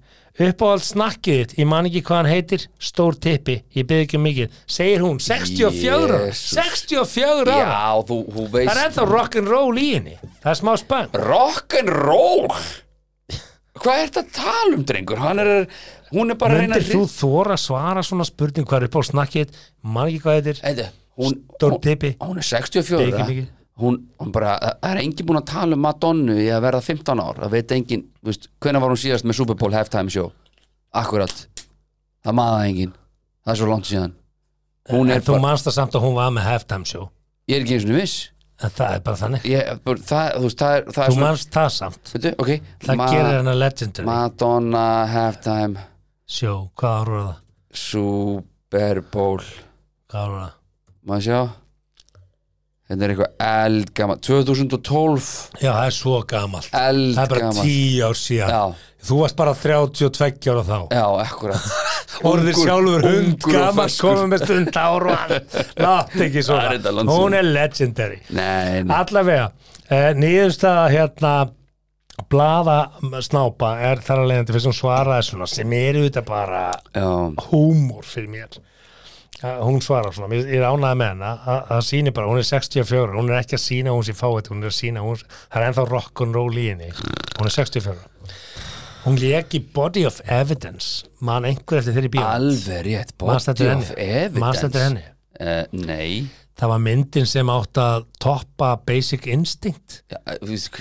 Upp á allt snakkið þitt, ég man ekki hvað hann heitir, stór tippi, ég byrði ekki um mikið, segir hún, 64 ára, Jesús. 64 ára, já, þú, það þú er veist ennþá rock'n'roll í henni, það er smá spenn. rock'n'roll hvað er þetta að tala um drengur hann er, hún er bara að reyna Myndir að þú þóra svara svona spurning hvað er upp á snakkið þitt, ég man ekki hvað heitir, Eða, hún, Stór hún- pipi. hún er Biki, 64 biki. hún, hún bara, það er engin búin að tala um Madonnu í að verða 15 ár það veit engin, þú veist, hvenær var hún síðast með Super Bowl halftime show akkurat, það maða engin það er svo langt síðan hún er Eh, en þú bara, manst það samt að hún var með halftime show, ég er ekki eins og viss en það er bara þannig, ég, bara, það, þú veist, það er, það er þú manst það samt. veitu, okay, Það gerir hana legendary Madonna halftime Sjó, hvað ár var það? Super Bowl Hvað ár var það? maður sjá þetta er eitthvað eldgama 2012 Já, það er svo gamalt Það er bara eldgama tíu ár síðan já, Þú varst bara 32 ára þá já, akkurat Orðið Ungur- sjálfur hund ungur og gamalt ferskur. komið með stund ár og allt Látt ekki Það er þetta svona langt Hún síðan. er legendary nei, nei. Allavega, eh, nýðurstaða hérna blaða snápa er þar að leiðandi fyrir sem svaraði svona sem er auðvitað bara Já, húmor fyrir mér að hún svarar svona, mér ég er ánægð með hana að það sýnir bara, hún er 64 hún er ekki að sýna að hún sé fáið hún er að sýna, að hún, það er ennþá rock'n'roll í henni hún er 64 hún lék í Body of Evidence man einhver eftir þeirri bíó alveg rétt Manst Body þetta of henni? Manst þetta Evidence henni? uh, Nei það var myndin sem átt að toppa Basic Instinct Já, þú veist,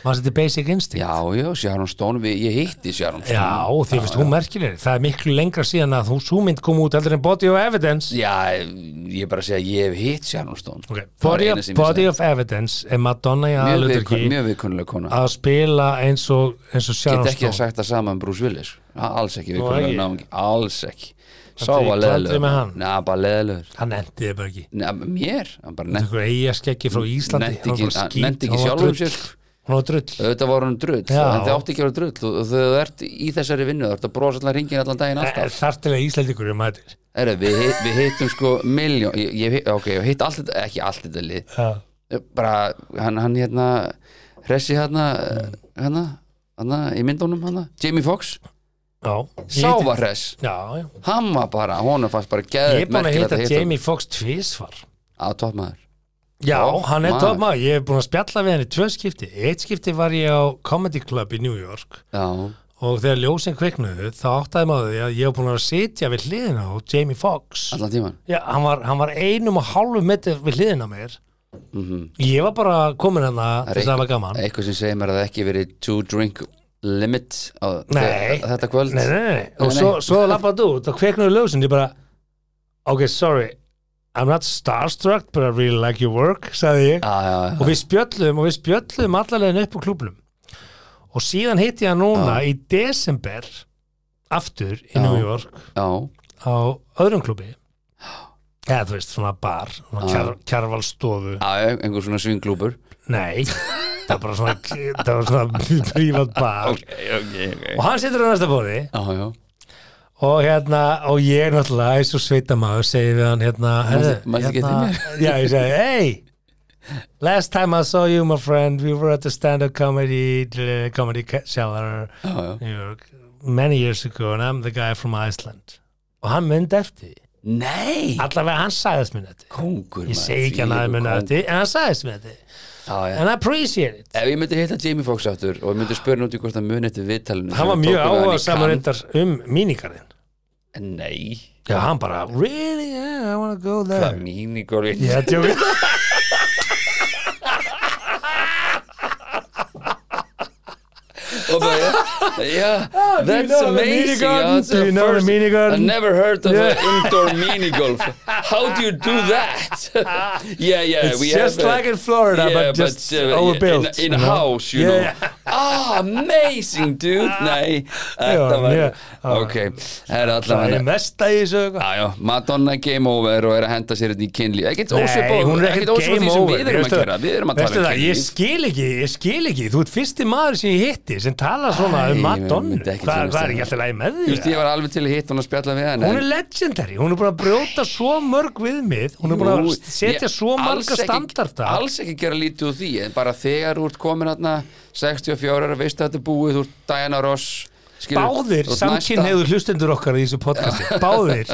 manst þetta Basic Instinct? já, já, Sharon Stone við, Ég hitti Sharon Stone Já, og því finnst hún merkilegri, það er miklu lengra síðan að þú súmynd kom út heldur en Body of Evidence Já, ég er bara að segja að Ég hef hitt Sharon Stone okay. Það er Body, eina of, sem ég body sagði. of Evidence er Madonna í Mjög aðluturki viðkon- Mjög viðkunnuleg kona að spila eins og, eins og Sharon Get ekki að Stone sagt það sama um Bruce Willis A- Alls ekki sko. ekki. viðkunnuleg náungi Alls ekki Sá Þetta er í var klandri leðilegur með hann. Næ, bara leðilegur hann endi þið bara ekki Mér, hann bara nefnt einhver eigaskeggi frá Íslandi nefndi hann ekki, var bara hann skít, nennti ekki hann var sjálfum drull. sér sko. Hún var drull auðvitað voru hún drull, Já. en þið átti ekki að vera drull og- og þau ert í þessari vinnu, þau ert að brosa allan ringin allan daginn Eh. alltaf Þartilega Íslandingur um þetta Heru, við, hit- við hittum sko miljón, ég, ég, hit- ok, ég hitt allt þetta, ekki allt þetta lið Já, bara, hann, hann hérna hressi hérna Mm. hérna, hérna, í myndunum hérna Jamie Fox, já Ég sá hitti- var hress Já, já hann var bara, honum fannst bara Ég er geðið búin að hitta Jamie Fox tvísvar á toppmaður Já, Ó, hann er maður. tómaður, ég er búin að spjalla við hann í tvö skipti Eitt skipti var ég á Comedy Club í New York já, og þegar ljósin kviknuðu þá áttaði maður því að ég var búin að vera að sitja við hliðina á Jamie Fox allan tíman Já, hann var, hann var einum og hálfu metri við hliðina á mér mm Ég var bara komin hann að þess að það var gaman eitthvað sem segir mér að það ekki verið two drink limit á Nei. þe- þetta kvöld Nei, nei, nei, og Nei, nei. svo, svo lappaði út og kviknuðu ljósin ég bara, ok, sorry I'm not starstruck, but I really like your work sagði ég Já, já, já. og við spjöllum og við spjöllum allalegin upp á klúblum og síðan hitti ég hann núna í desember aftur í Já. New York já, á öðrum klúbi eða þú veist svona bar svona Já. kjar, kjarvalstofu já, já, einhver svona svinglúpur nei, það var bara svona það var svona prívat bar ok, ok og hann situr á næsta bóði já, já, og hérna, og ég náttúrulega eins og sveita maður segi við hann hérna, Manstu- "Heyrðu, manstu ekki hérna já, ég segi, hey last time I saw you my friend we were at the stand-up comedy uh, comedy ca- cellar já, já. New York many years ago and I'm the guy from Iceland og hann myndi eftir því. nei, allavega hann sagðist mér þetta kongur ég segi ekki hann að mér eftir því, en hann sagðist mér þetta þetta and I appreciate it Ef ég myndi hitta Jamie Foxx aftur og ég myndi spyrja hann út í hvort það muni eftir viðtalinu hann sem var við mjög tókum við hann í áhuga saman Cannes. reyndar um mínikarinn Nei, já, hann bara, really, yeah, I wanna go það er there mínigur ég held ég við Og bara, yeah, that's Ah, know the amazing minigun? yeah, that's Do you the know the first- minigun? I never heard of Yeah. an indoor minigolf How do you do that? yeah, yeah, It's we just have like in Florida, yeah, but just yeah, overbuilt, In, in you know? house, you Yeah. know Ah, amazing, dude Nei, þetta var yeah. Ok, það er það allavega er mesta í þessu eitthvað. Já, já, Madonna game over og er að henda sér hérna í kynlíf ekkert ósvipað Nei, hún er ekkert ósvipað game því sem over við erum að Veistu gera við erum að veistu tala um það, Ég kynlíf skil ekki, ég skil ekki Þú ert fyrsti maður sem ég hitti sem talar svona Æ, um ég Madonna myndi ekki Hvað kynnast hvað er henni. ekki alltaf lægi með Þú veist, því? ég var alveg til að hitta hún að spjalla við hann Hún er legendary, hún er búin að brjóta svo mörg viðmið Hún er búin að setja svo marga standarta Alls ekki gera lítið úr því en bara þegar þú ert komin hérna 64 ára, veistu að þetta er búið þú ert Diana Ross skilur, Báðir þú ert næsta- samkynheiður hlustendur okkar í þessu podcasti Báðir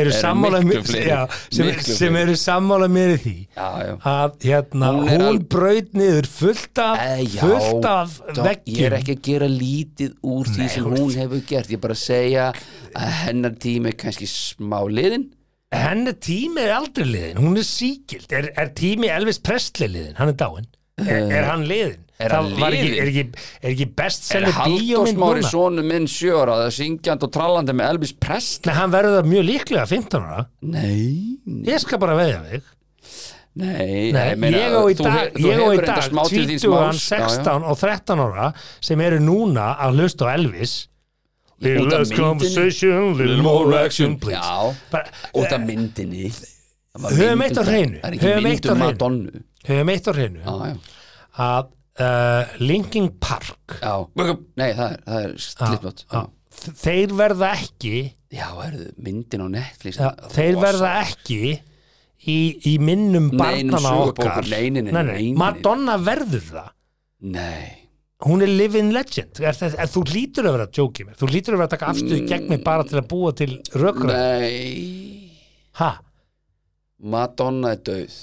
eru sammála miklu mér- fleiri, já, sem, miklu sem fleiri. eru sammála mér í því Já, já að hérna, Hún hún, er hún al- braut niður fullt af, Eh, já, fullt af Dó- veggjum Ég er ekki að gera lítið úr því sem hún hefur gert Ég er bara að segja að hennar tími er kannski smá liðin henni tími er aldrei liðin, hún er síkild er, er tími Elvis Presley liðin, hann er dáinn er, er hann liðin Eh, er Það hann var liðinn? Ekki, er, ekki, er ekki best Er selur Halldór bíómynd Smári núna sonu minn sjö ára Það er syngjandi og trallandi með Elvis Presley Nei, hann verður það mjög líklega 15 ára Nei, nei, ég skal bara veðja þig nei, Nei, ég meina, ég á í þú dag, he- þú ég á hefur í reyndar dag smá til þín 20, smáls. 16 og 13 ára sem eru núna að hlusta á Elvis Ég- út af Less myndinni. conversation, little more action please Já, Bara, eh, út af myndinni Það var Höfum mynd eitt á um það. hreinu, Það er höfum ekki eitt mynd á um hreinu. Madonnu höfum eitt á hreinu Já, já, að uh, Linkin Park já Nei, það er, það er slipnot Já, að þeir verða ekki já herðu, myndin á Netflix að, þeir verða ekki í, í minnum Nei, einum barnana sögubókum, okkar nei, nei, nei, nei, nei. Madonna verður það Nei, hún er living legend er, er, er, þú lítur að vera að jóki mér þú lítur að vera að taka afstöðu gegn mig bara til að búa til rökra nei ha, Madonna er döð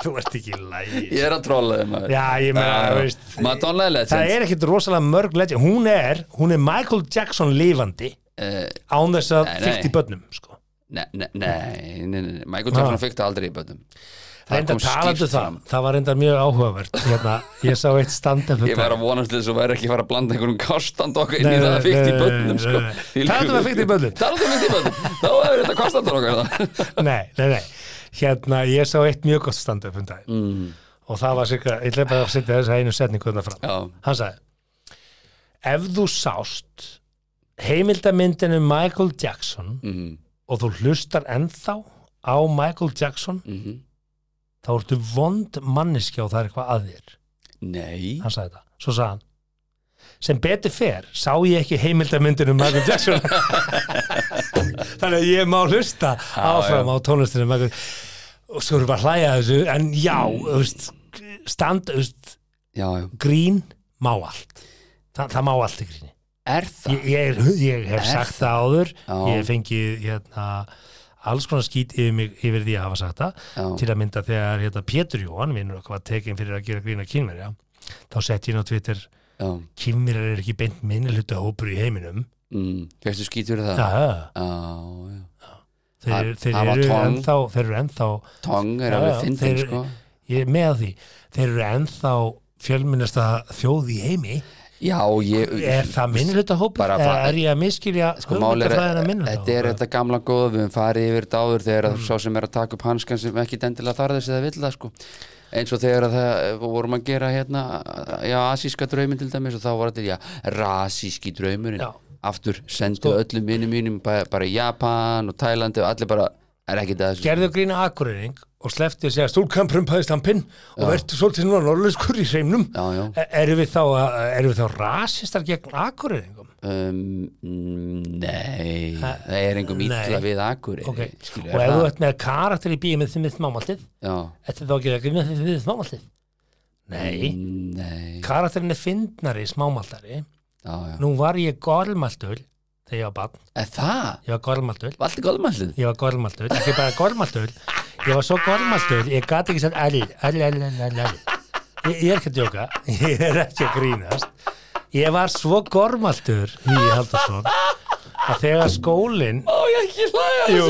þú ert ekki í lægi Ég er að trolla þeim maður já, ég meina, Já, þú já. veist Madonna er legend það er ekkit rosalega mörg legend hún er, hún er Michael Jackson lifandi Eh, án þess að Nei, nei. 50 bönnum sko Nei, nei, nei, nei, nei, Michael Jackson Ha. fikk það aldrei í bötum Reyndar talandu það, það var reyndar mjög áhugavert hérna, ég sá eitt stand-up um Ég var að vonast til þess að væri ekki að fara að blanda einhverjum kostandokka inn í Nei, það að nei, fikk í nei, bötum nei, sko. nei, nei. Talandi um að fikta í börnum. Talandi um að fikta í bötum Þá er þetta kostandokka það Nei, nei, nei, hérna ég sá eitt mjög gott stand-up um dag mm. og það var cirka, ég lef bara að setja þess að einu setningu þarna fram, Já, hann sagði ef þú sást heimildamyndinu Michael Jackson mhm, og þú hlustar ennþá á Michael Jackson mhm þá ertu vond manniskja og það er eitthvað að þér Nei hann sagði þetta, svo sagði hann sem betur fer, sá ég ekki heimildamyndinu Michael Jackson þannig að ég má hlusta áfram á tónlistinu Michael og svo erum við að hlæja að þessu en já, þú veist, stand þú veist, Já, já grín má allt Þa, það má allt í gríni Er það? ég, ég, er- ég hef sagt það áður Já. ég hef fengið hérna, alls konar skít yfir, mig, yfir því að hafa sagt það Já. til að mynda þegar hérna, Pétur Jóhann vinnur okkur var tekin fyrir að gera grína kínverja þá sett ég inn á Twitter Já kínverjar er ekki beint minnilhutta hópur í heiminum mm. Fyrstu skít fyrir það? ja. Já, já þeir, Það- þeir, það var eru tong. ennþá, þeir eru ennþá Tong er Já, alveg já, fyndin, þeir- sko ég er með á því, þeir eru ennþá fjölmennasta þjóð í heimi Já, ég er það minnilhutta hópur Bara eða fa- er ég að miskilja Sko, mál er, hugmyndafræðina þetta er minnilhutta þetta gamla góð við höfum farið yfir þetta áður þegar mm. sá sem er að taka upp hanskan sem ekki dendilega þarðis eða vill það sko eins og þegar að það eh, vorum að gera hérna já, asíska draumin til dæmis og þá var þetta, já, rasíski draumurinn Já. Sko- aftur sendu öllum vinnum mínum bara, bara í Japan og Tælandi og allir bara, er ekki það gerðu grína akureyring og sleftu að segja stúlkan prumpaðist hann pinn og verður svolítið núna norðlöskur í hreimnum Já, já. E- erum við þá, að- erum við þá rasistar gegn akureyringum um, mm, nei það er engum ítla nei. við akkur Ok, Eh, og skilur, er ef þú það? ert með karakter í bíum með því mitt mámaldið, já, þetta er þá ekki ekki með því mitt mámaldið Nei, nei, karakterin er fyndnari smámaldari, já, já nú var ég gormaldur þegar ég var barn, er það, ég var gormaldur valdi góðmælið ég var gormaldur, ekki bara gormaldur ég var svo gormaldur, ég gat ekki sann erl, erl, erl, erl, erl, erl ég, ég er ekki að djóka, ég er ekki að grínast ég var svo gormaldur í Haldarsson að þegar skólinn Ó, ég ekki hlæja Jú,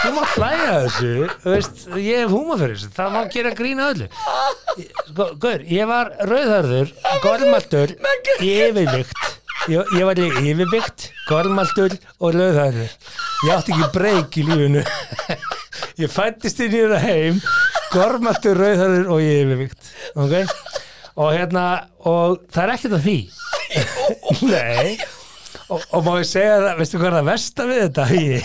þú mátt hlæja að þessu þú veist, ég hef húma fyrir þessu það má gera grína öllu sko, Guður, ég var rauðhörður gormaldur, yfirvikt ég, ég var líka yfirvikt gormaldur og rauðhörður ég átti ekki breyk í lífinu ég fættist inn í það heim gormaldur, rauðhörður og yfirvikt ok og hérna, og það er ekkert að því nei og, og má ég segja það, veistu hvað er það versta við þetta Hugi?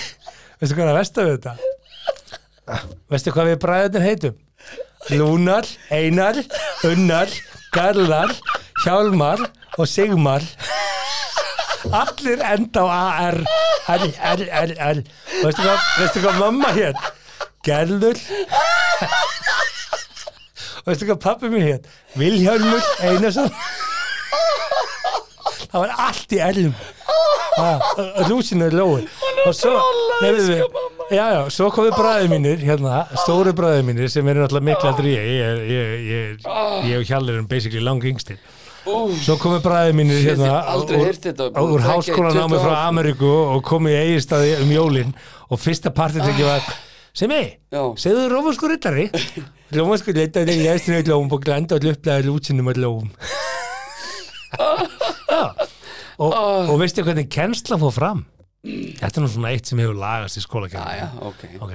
veistu hvað er það versta við þetta veistu hvað við bræðunir heitum Lúnar, Einar, Unnar Garlar, Hjálmar og Sigmar allir enda á AR R, R, R, R veistu hvað, veistu hvað mamma hér Gerður veistu hvað pappi mér hér Vilhjálmur Einarsson það var allt í erlum rúsinu er lói og svo nefnum við já, já, svo komu bræði mínir hérna, stóru bræði mínir sem eru náttúrulega mikla aldrei ég ég, er- ég, ég, Ah. er- ég og Hjallir erum basically lang yngstir svo komu bræði mínir Shit, hérna, ég hef aldrei úr, heyrt þetta. úr, úr Búin að taka í háskólanámi 20 frá ár. Ameríku og komu í eiginstaði um jólin og fyrsta partitekki var Semi, Ah. Já. segðu rómansku rittari Rómansku rittari lest henni lóum og glenda og löflaði lútsinum að lóum Já og, Ah. og veistu hvernig kennsla fór fram Þetta er nú svona eitt sem hefur lagast í Já, Mm. já, skólakennsla ok Ok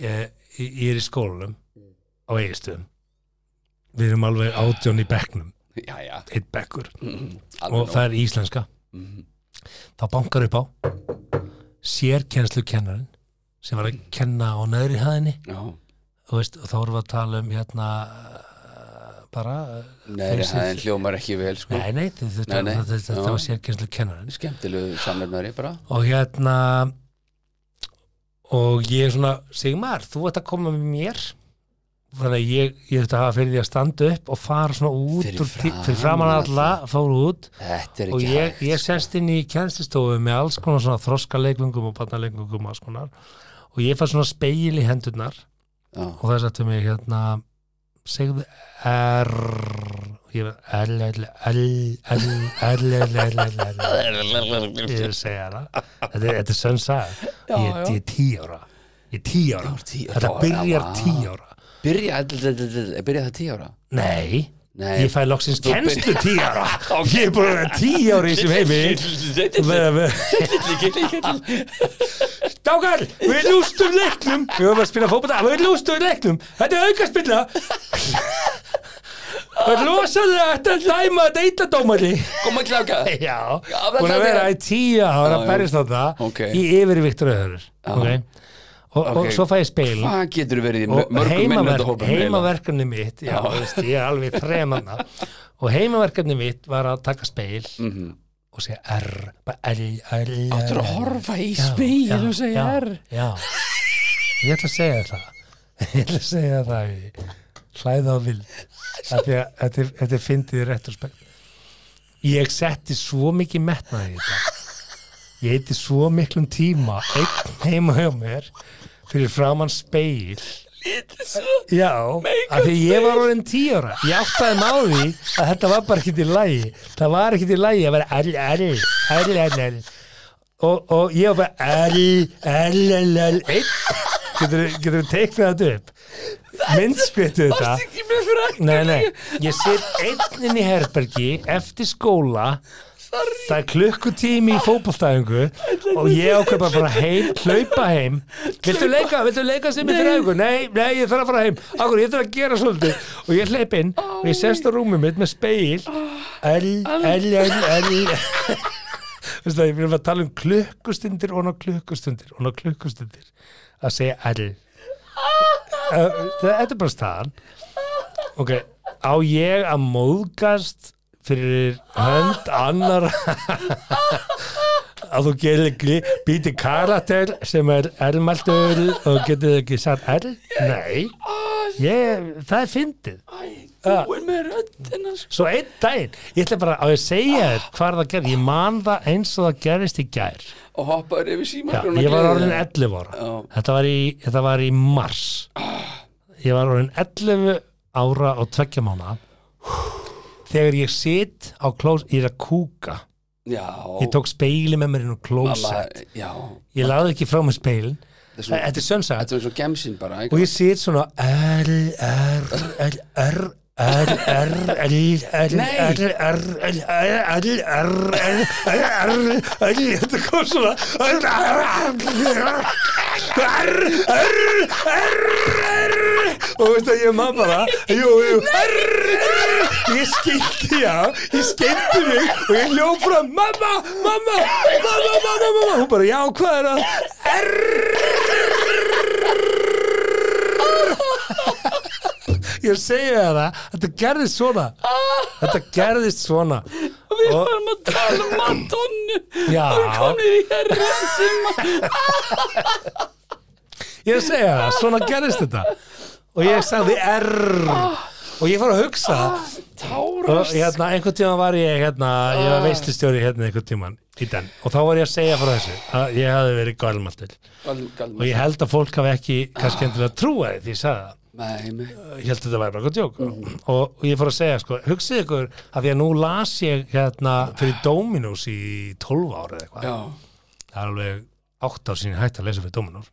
ég, ég er í skólanum á eiginstöðum Við erum alveg átjón í bekknum Já, já, Eitt bekkur alveg og nóg Mhm. það er íslenska þá bankar upp á sérkennslu kennarinn sem var að kenna á neðri hæðinni Já, þú veist, og þá erum við að tala um hérna eh, bara eh, neðri þeir sem- hæðin hljómar ekki vel, sko nei, nei, þetta, Nei, nei, þetta, þetta, já. þetta var sérkennslu kennarinn Skemmtilegu samlefnari bara og hérna og ég er svona Sigmar, þú ert að koma með mér þannig að ég, ég þetta hafa fyrir því að standa upp og fara svona út Fyrir úr tí- framan fyrir framan alla, fóru út Þetta er og ekki ég, hægt sko. ég sest inn í kjænstistofu með alls konar svona þroskaleikungum og barnaleikungum og alls konar og ég fær svona speil í hendurnar Já, og það sættu mig hérna segðu R og ég var L, L, L, L, L, L, L, L, L ég er að segja það þetta er, þetta er sönn saga ég, ég er tí ára ég er tí ára, ert tíu ára. þetta byrjar Vá. tí ára Byrja, byrja það tíu ára nei, Nei. ég fæ loksins Þú byrjar- kennslu tí ára ég er búin að vera tí ára í þessum heimi Með- með- Dákar, við lústum leiknum Við höfum að spila fótbolta Við lústum leiknum, þetta er aukaspilla Það er rosalega Þetta er dæma að deyta dómari Kom að kláka Já, Já, það búin að er- vera í tíu ára Já, að já. berjast á það Ok. Í yfirviktur öður okay. og, og Ok. svo fæ ég speil Hvað getur verið í og mörgum heimaverk, minnundahópum heimaverkefni mitt já, veist, ég er alveg þremanna og heimaverkefni mitt var að taka speil og segja R bara L, L, L Þú Mhm. að horfa í Já, speil já, og segja já, er já. ég ætla að segja það ég ætla að segja það í hlæða á vild af því að þetta er- þetta er fyndið rétturspekt ég setti svo mikið metnaði í þetta ég heiti svo miklum tíma einn heima hjá mér fyrir framann speil Já, af því ég var orðin tíu ára Ég áttaði máði að þetta var bara ekkert í lagi Það var ekkert í lagi að vera erl, erl, erl, erl, erl og, og ég var bara erl, erl, erl, erl Einn Getur þú teiknað þetta upp Myndskvittu þetta Ekki með fræk Nei, nei, ég sitt einn inn í herbergi eftir skóla Það er klukkutími í fótbollstæðingu og ég ákveð bara að fara heim, hlaupa heim Viltu leika, viltu leika sem ég þrægu? Nei, nei, ég þarf að fara heim Akkur, ég þarf að gera svolítið Og ég hleyp inn og ég sest á rúmið mitt með speil L, L, L, L Veistu það, ég vil að tala um klukkustundir og ná klukkustundir og ná klukkustundir að segja L Uh, Þetta er bara staðan Ok, á ég að móðgast fyrir hönd annar að þú gerir gli- býti karakter sem er elmaldur og getur ekki sagt erl? Nei, ég, það er fyndið. Búin með röddina sko. Svo einn daginn, ég ætla bara að ég segja þér hvað það gerir, ég man það eins og það gerist í gær. Og hoppaður yfir Já, símakrónu ég var orðin 11 ára. Já. Þetta var, í, þetta var í mars. Ég var orðin 11 ára og tveggja mánu. Þegar ég sitt á klós, ég er að kúka. Já Ég tók speili með mér inn á Mamma, klósett. Já Ég laði ekki frá mér speilin. Þetta er svona- Þetta er sönsa. Þetta er eins og gemsin bara Og ekki? ég sitt svona R, R, R, R, R, R, R, R, Nei. R, R, R, R, R, R, R, R, R, Þetta kom svona R, R, R, R, R, R, R Og veist að ég maður bara Jú, jú, R, R Ég skildi já, ég skildi mig Og ég hljóf frá Mamma, mamma, mamma, mamma, mamma Hún bara, já, hvað er það? R Ég segi þér það, þetta gerðist svona Þetta gerðist svona Ah. Við varum að tala um Madonnu Já. Þú erum komnir í herra sem að Ég segja það, svona gerðist þetta Og ég sagði R Og ég fór að hugsa Ah, Og Tárast hérna, einhvern tímann var ég hérna, Ég Ah. var veistlustjóri hérna einhvern tímann í den Og þá var ég að segja frá þessu Að ég hafði verið galmaltil Galm- Og galm- ég held að fólk hafi ekki kannski endilega trúa því því ég sagði það Nei, nei ég held að þetta væri bara eitthvað djók Mhm. og, og ég fór að segja sko, hugsið ykkur að því að nú las ég hérna fyrir Dominus í 12 ára eða eitthvað Já það er alveg átt ár sín ég hætti að lesa fyrir Dominus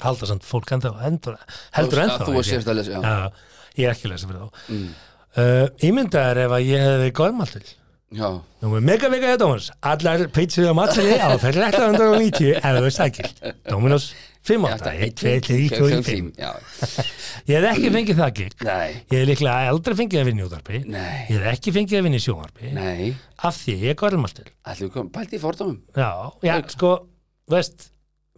halda samt fólk ennþá, ennþá heldur Mhm. Þú- ennþá Þú að er ég- sérst að lesa, já Mm. Já, ég er ekki að lesa fyrir þá uh, Ímyndaður ef að ég hefði góðmaltil Já Nú er mega vega hjá Dóminus Allar pizzur á matseði á 1390 ef þú sækir Dóminus 5, 8, 1, 2, 3, 4, 5 Já Ég hef ekki fengið það gig Nei Ég hef líklega aldrei fengið að vinna í útarpi Nei. Ég hef ekki fengið að vinna í sjónvarpi Nei Af því ég er gormaltil Ætlum við komum Bælt í fordómum Já, já sko, veist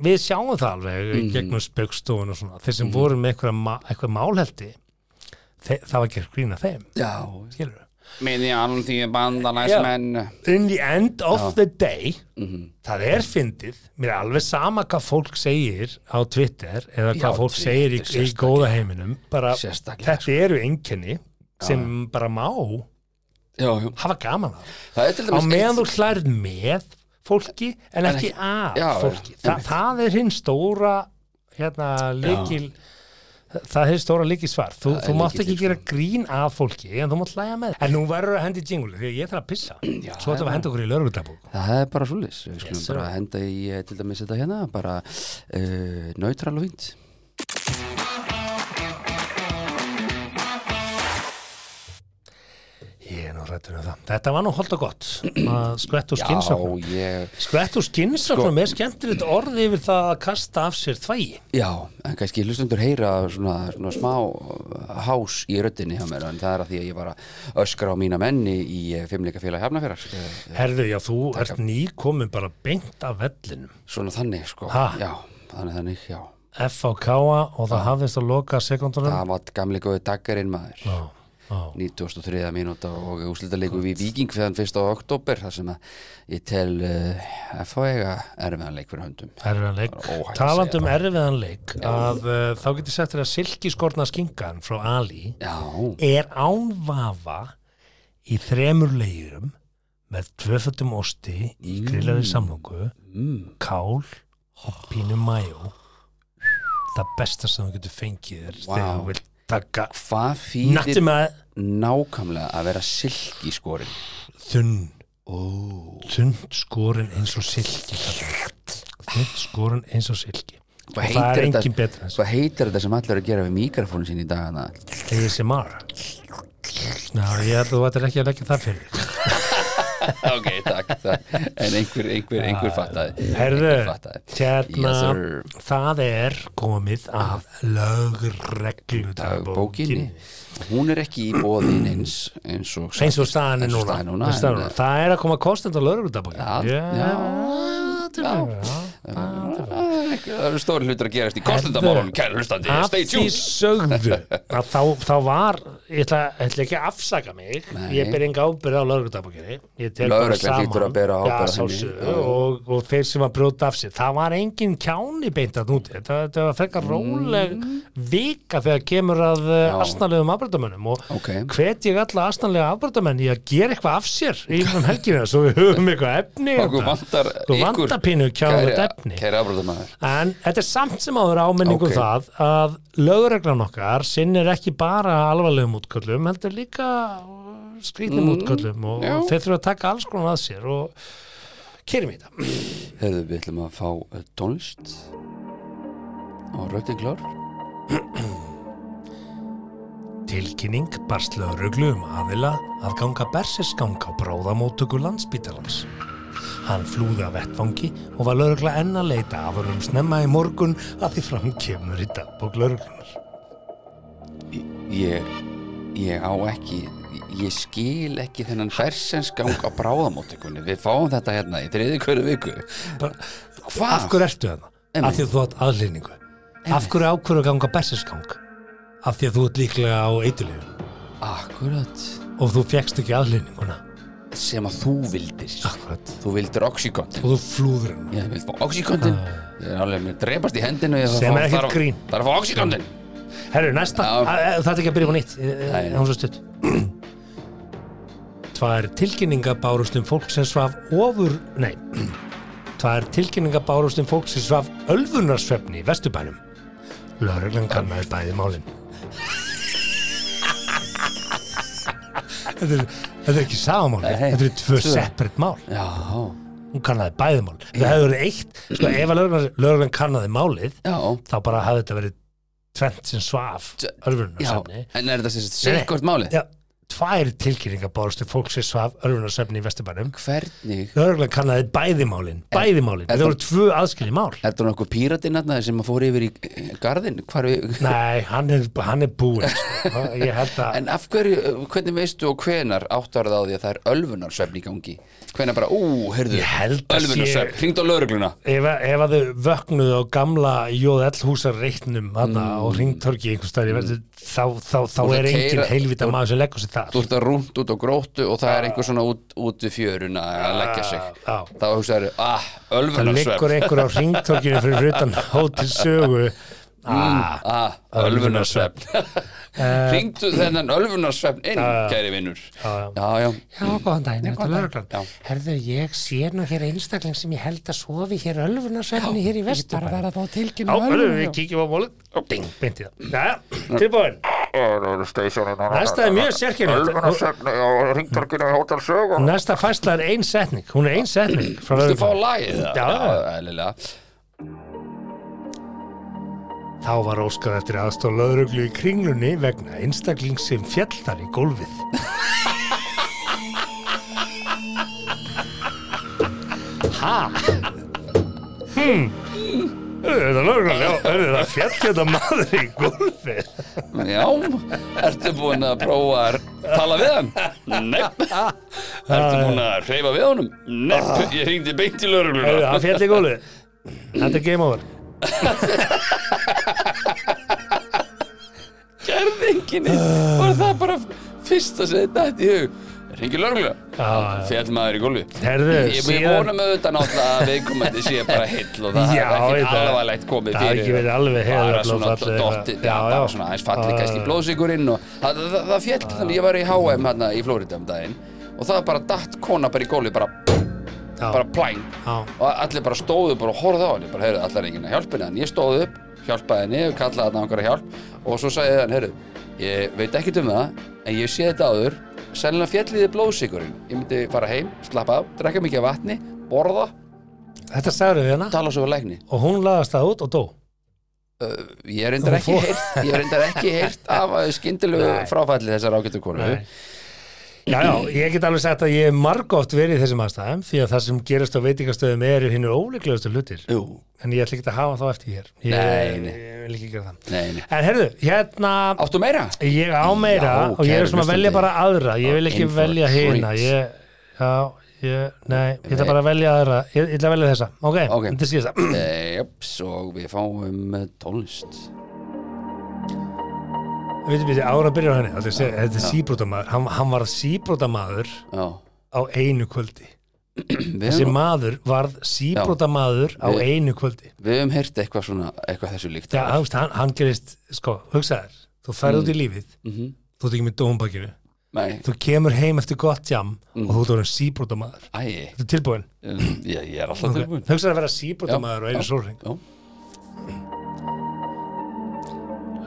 Við sjáum það alveg Mhm. mm. gegnum spaukstofun og svona Þeir sem voru með eitthvað, ma eitthvað málhelti þe- Það var ekki að grína þeim Já Skilur Minni alþýði bandalæsmenn In the end of the day Mhm. Það er fyndið Mér er alveg sama hvað fólk segir á Twitter eða hvað Já, fólk Twitter, segir í, í sérstaklega. góða heiminum bara, Sérstaklega sko. Þetta eru einkenni sem bara má Já, já hafa gaman af Það er til á dæmis meðan eitt- þú hlærð með fólki en ekki ekki- af Já, fólki já, Þa, einmitt. það er hinn stóra hérna líkil það er stóra líkil svar þú, er þú mátt lykillinn, ekki gera grín af fólki en þú mátt hlæja með en nú verður að hendi jinguli því að ég þarf að pissa svo þetta var að henda okkur í lögurðabók Það er bara svoleiðis, við skulum sir. bara henda í eh, til dæmis þetta hérna, bara uh, neutral og fínt. ég er nú rættur um það þetta var nú holdt og gott að skvett úr Já, Sko- skinnsöknum ég, skvett úr skinnsöknum er skemmtilegt orði yfir það að kasta af sér þvægi já, en kannski hlustundur heyra svona, svona smá eh, hás í röddinni hjá mér, en það er að því að ég var að öskra á mína menni í eh, fimmleikafélag hafnafélags, eh, herðu já þú ert nýkomin bara beint af vellinum svona þannig, sko, Ha? já, þannig, þannig, já. FVK og það hafðist að loka sekundunum það var gamli góði takkarinn maður Já, já. 93. mínúta og úslitaleiku við Víking fyrir þann 1. oktober þar sem að ég tel uh, FH eiga erfiðan leik fyrir höndum Erfiðan leik, Það er óhætt að talandi segja um erfiðan leik að uh, þá getur sett þér að silkiskorna skinkan frá Ali Já, er án vafa í þremur leiðurum með tvöfötum osti í Mm. grillaði samlóku kál og pínu majó það besta sem þú getur fengið er þegar Vá. þú vilt taka hvað natti fyrir með nákvæmlega að vera silki skorinn þunn oh. þunn skorin eins og silki þunn skorin eins og silki og Hvað það er heitir þetta? engin betra en Hvað heitir þetta sem allir eru að gera við mikrofónu sín í dagana? ASMR Ná, ég held að þú ættir ekki að leggja það fyrir þig. ok, takk, takk En einhver, einhver, einhver Ah, fattaði Herðu, Einhver fattaði. hérna Yes, sir. það er komið af lögreglu dagbókinni Hún er ekki í bóðin eins eins og, eins og staðan er eins og núna, staðan er núna, Eins og staðan er en, núna. það er að koma kostend á lögreglu Já, dagbókinni já, eh, Það eru stóri hlutur að gerast í kostendamálunum Kæra hlustandi, af stay því tuned sögðu að þá, þá var ég ætla, ætla ekki að afsaka mig Nei. ég ber enga ábyrð á lögreglutabokkinni Lögreglan hlýtur að bera ábyrgð á henni. Já. og, og þeir sem að brjóta af sér það var engin kjáni beint að núti þetta, þetta var frekar róleg vika þegar kemur að Mm. eh, Já. asnalegum afbrytamönnum og Ok. hvet ég alla asnalega afbrytamenn í að gera eitthvað af sér í um helgina svo við höfum eitthvað efni í Okkur þetta. vantar Okkur ykkur, vantar pínu kjáni kæra- efni Kæra afbróðumæður En þetta er samt sem áður áminningu Ok. okay. það að lögreglan okkar sinnir ekki bara alvarlegum útköllum, heldur líka uh, skrýtnum útköllum og Mm, já. þeir þurfa að taka alls konar að sér og kýrum í þetta. Herðu, við ætlum að fá eh, tónlist og röddinn klár Tilkynning barst lögreglu um aðila að ganga berserskang á bráðamóttöku landsbítalans. Hann flúði af vettfangi og var lögregla enn að leita af honum snemma í morgun að því fram kemur í dagbók lögreglunar. Ég, ég á ekki ég skil ekki þennan hersensgang á bráðamóttökunni við fáum þetta hérna í þriði hverju viku bara, hvað? Af hverju ertu þarna? Einmitt. Af því að þú átt aðlýningu. Af hverju ákvörðu að ganga berserskang? Af því að þú ert líklega á eitulegu Akkurat og þú fjekkst ekki aðlýninguna. sem að þú vildir Akkurat. þú vildir oxykontin Og þú flúður hennar. ég vil fá oxykontin ég er alveg mér drepast í hendinu ég þarf að Ah. Sem fá- er ekkert þarf að- grín. þarf að fá oxykontin Herru, næsta. Já. Æ, æ, Það er ekki að byrja á nýtt. Það Nei. er hún svo stutt. Tvær tilkynninga bárustum fólk sem svaf ofur... Nei. Tvær tilkynninga bárustum fólk sem svaf ölfunarsvefni í Vesturbænum. Lörglan kannaði bæði málin. þetta, er, þetta er ekki sagamál. Nei. Þetta eru tvö Tvö. separate mál já, hún kannaði bæði mál það hefði verið eitt, sko ef að lögreglan- lögreglan kannaði málið, já, þá bara hafði þetta verið tvent sem svaf já örfunarsefni en er þetta sem sagt sérkort máli já, tvær tilkynningar bárust til fólk sem svaf örfunarsefni í Vesturbænum hvernig lögreglan kannaði bæði málin bæði málin, en þetta það- voru tvö aðskilji mál er þetta nokkuð píratinn hérna sem að fór yfir í eh, garðinn hvar við nei, hann er, hann er búinn sko. ég held að En af hverju, eh, hvernig veistu og hvenar áttar það á því að það er ölfunarsvefn í gangi? Hvenar bara, ú, heyrðu, Ég held að ölfunarsvefn, sé- hringdu á laurugluna. Ef, að- ef að þau vöknuðu á gamla Jóðell húsar reitnum hana, og ringtorki einhvers staðar í verður þá, þá, þá Mm. ert að er engin keyra- heilvita maður sem leggur sér þar Þú ert að rúnt út á gróttu og það er einhver svona út, út við fjöruna að leggja sig. Já. Þá hugsaðu, ah, það liggur ölfunarsvefn, einhver á ringtorkinu fyrir utan hótel sögu ah, Eh. ah, ölfunarsvefn. Hringdu þennan ölfunarsvefn inn, kæri vinnur. já. Já, já, Já, góðan daginn, þetta er lögreglan Já. Herðu, ég sé nú hér einstakling sem ég held að sofi hér ölfunarsvefni hér í vestur Ég bara verða þá um tilkynna ölfunarsvefni Við kíkjum á mólið og ding, beint í það Jæja, tilbúin Næsta er mjög sérkennilegt Ringtorkinu í Hotel Sögu Næsta fæsla er ein setning Hún er ein setning frá þú fá lögreglan lagið það. Já. eðlilega. Þá var óskað eftir aðstóð lögreglu í kringlunni vegna einstakling sem fjall þar í gólfið. ha? Hmm. Þetta er lögreglan, já. Hörðu, Það fjall þetta maður í gólfið. Já, ertu búin að prófa að tala við hann? Nepp Ertu búin að hreyfa Ah. við honum? Nepp, ég hringdi beint í Hörðu, lögregluna Það fjall í gólfið. Þetta er game over. gerðinginni var það bara fyrsta sem þetta hætti í hug ringi Já, lögreglega já. fjall maður í gólfi Herðu, ég ég síðan- vona með auðvitað náttúrulega að viðkomandi sé bara heill og það Já, er ekki þetta- alvarlegt komið það hafi fyrir ekki verið alveg heiðarlega bara svona fallið alltaf eitthvað. dottið já, Já, Ah. já. bara svona aðeins fallið Já, kannski já. blóðsigurinn og það, það, það, það fjall þannig ég var í HM hérna í Flórida um daginn og það bara datt kona bara í gólfi bara, Já. bara plæng Já. og allir bara stóðu bara og horfðu á henni bara, heyrðu, allar enginn að hjálpa henni en ég stóð upp, hjálpaði henni og kallaði hann á einhverja hjálp og svo sagði hann, heyrðu, ég veit ekkert um það en ég sé þetta áður sennilega fjalliði blóðsikurinn ég myndi fara heim, slappa af, drekka mikið af vatni borða, Þetta sagður við hérna tala svo við lækni og hún laðast það út og dó. ég er reyndar ekki fór- heyrt ég er reyndar ekki heyrt af skyndilegu fráfælli þessar ágættu konu Nei. Já, já, ég get alveg sagt að ég hef margótt verið í þessum aðstæðum því að það sem gerist á veitingastöðum eru hinn óleiklegustu hlutir. Jú, En ég ætla ekki að hafa þá eftir hér. Ég, Nei, nei. Ég vil ekki gera það. nei, nei. En herðu, hérna... áttu meira? Ég á meira Já, og ég er kæru svona að velja hlustandi. bara aðra ég vil ekki In for velja hina treats. ég, já, ég, nei, ég ætla Nei. bara að velja aðra ég, ég ætla að velja þessa, ok, Ok. þetta sé það Eh, Jöps, og við fáum eh, tónlist við veitum, ára að byrja á henni þetta er- þetta er síbrótamaður, hann, hann var síbrótamaður Já á einu kvöldi Við þessi höfum- maður varð síbrótamaður á Við- einu kvöldi Við hefum heyrt eitthvað svona, eitthvað þessu líkt já, þú veist, hann, hann gerist, sko, hugsaðar þú ferð út í lífið, Mhm. þú ert ekki með dómbakinu Nei, þú kemur heim eftir gott jam og þú ert orðin síbrótamaður æ, þetta er tilbúin, um, Mhm. ég, ég er alltaf okay. tilbúin hugsaðar að vera síbrótamaður á Já, einu sólring Já,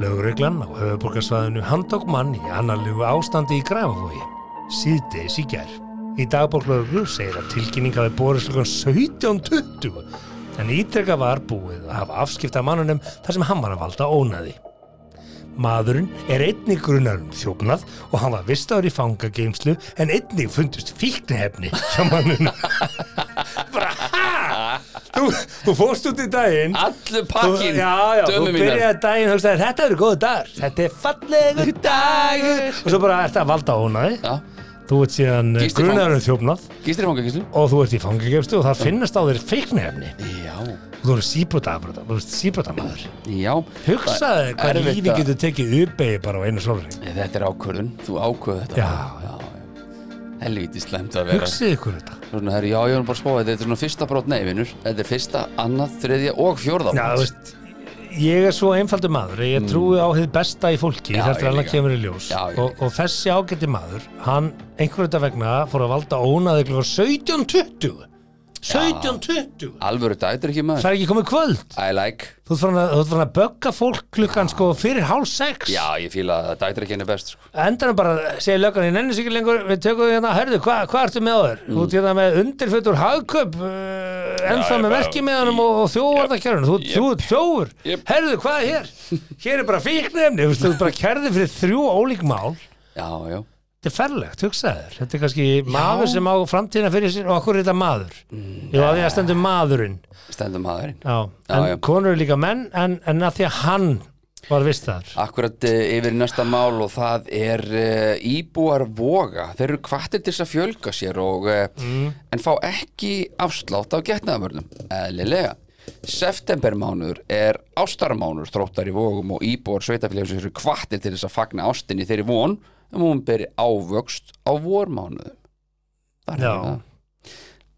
Lögreglan á höfuborgarsvæðinu handtók mann í annarlegu ástandi í Grafavogi. Síðdeis í gær. Í dagborglögru segir að tilkynning hafi borist klukkan 17.20 en ítreka var búið að hafa afskipta af mannunum þar sem hann var að valda ónaði. Maðurinn er einnig grunar um þjófnað og hann var vistaður í fangageimslu en einnig fundust fíknihefni hjá mannuna. Bara, ha? Þú, þú fórst út í daginn Allur Þú- pakkin, já, já, þú dömu mínar byrjaði daginn og hugsaði þetta eru góðu dagar, þetta er fallegu dagur og svo bara ert að valda ónaði Já, þú ert síðan Gisti grunarum þjófnað gístir fanga, gíslu og þú ert í fangagefstu og það finnast á þeir feiknefni Já, og þú eru síbrotamæður síbrotamæður, já hugsaði þér Það er hvað erfitt lífi að- getur tekið uppegi bara á einu sólring Þetta er ákvörðun, þú ákvörðu þetta Já. já, já Helvítið slæmt að vera hugsið ykkur þetta Svona, herri, Já, ég var nú bara að spóa, þetta er svona fyrsta brot neyvinur Þetta er fyrsta, annað, þriðja og fjórða já, þú brot. veist, ég er svo einfaldur maður ég trúi á hið besta í fólki Mm. Já, þar til ég annað líka. kemur í ljós Já, ég og, líka. og þessi ágæti maður hann einhverjum þetta vegna fór að valda ónaði klukkan 17.20 17.20 Alvöru dag, þetta er ekki það maður er ekki komið kvöld I like þú ert farin að, þú ert farin að bögga fólk klukkan sko fyrir hálf sex Já, ég fíla að dagdrykkin er best sko. endanum bara segir löggan í nennis ekki lengur við tökum hérna, herðu, hvað hva ertu með áður þú ert hérna með undirfötur hagköp uh, ennþá ég með bara- verkimiðanum og, og þjóvarðakjörun þú, þú ert þjófur, Jep. herðu, hvað er hér hér er bara fíknefni, þú veist, þú ert bara kærði fyrir þrjú ólík mál Já, já þetta er ferlegt, hugsaður, þetta er kannski maður sem á framtíðina fyrir sér og okkur er þetta maður jú, að því að stendur maðurinn Stendum maðurinn já, Já, en já. konur er líka menn en, en að því að hann var vist þar Akkurat eh, yfir í næsta mál og það er uh, íbúar voga. Þeir eru kvartir til þess að fjölga sér og, uh, en fá ekki afslátt á getnaðamörnum. Eðlilega. Septembermánuður er ástarmánuður þróttar í vogum og íbúar sveitafélagsins eru kvartir til þess að fagna ástinni þeirri von um hún beri ávöxt á vormánuðum. Það er Já. það.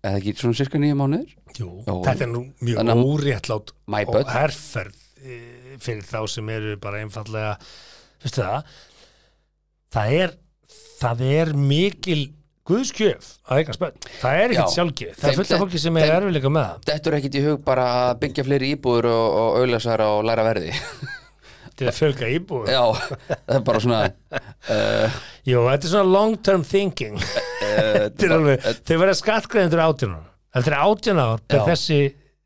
Eða ekki svona cirka nýja mánuður? Jú, Jó. þetta er nú mjög Þannig að- óréttlát My og bad. herferð eh, fyrir þá sem eru bara einfallega veistu það það er, það er mikil guðskjöf að eignast börn það er ekkert Já. sjálfgjöf, það er Þeim- fullt af fólki sem er þeim- erfileika með það Þetta er ekkit í hug bara að byggja fleiri íbúður og, og auðlasar og læra verði. til að fjölga íbúið Já, það er bara svona... Uh, Jú, þetta er svona long term thinking Þetta er alveg, þau verða skattgreðendur 18 ára eftir 18 ár er Já. þessi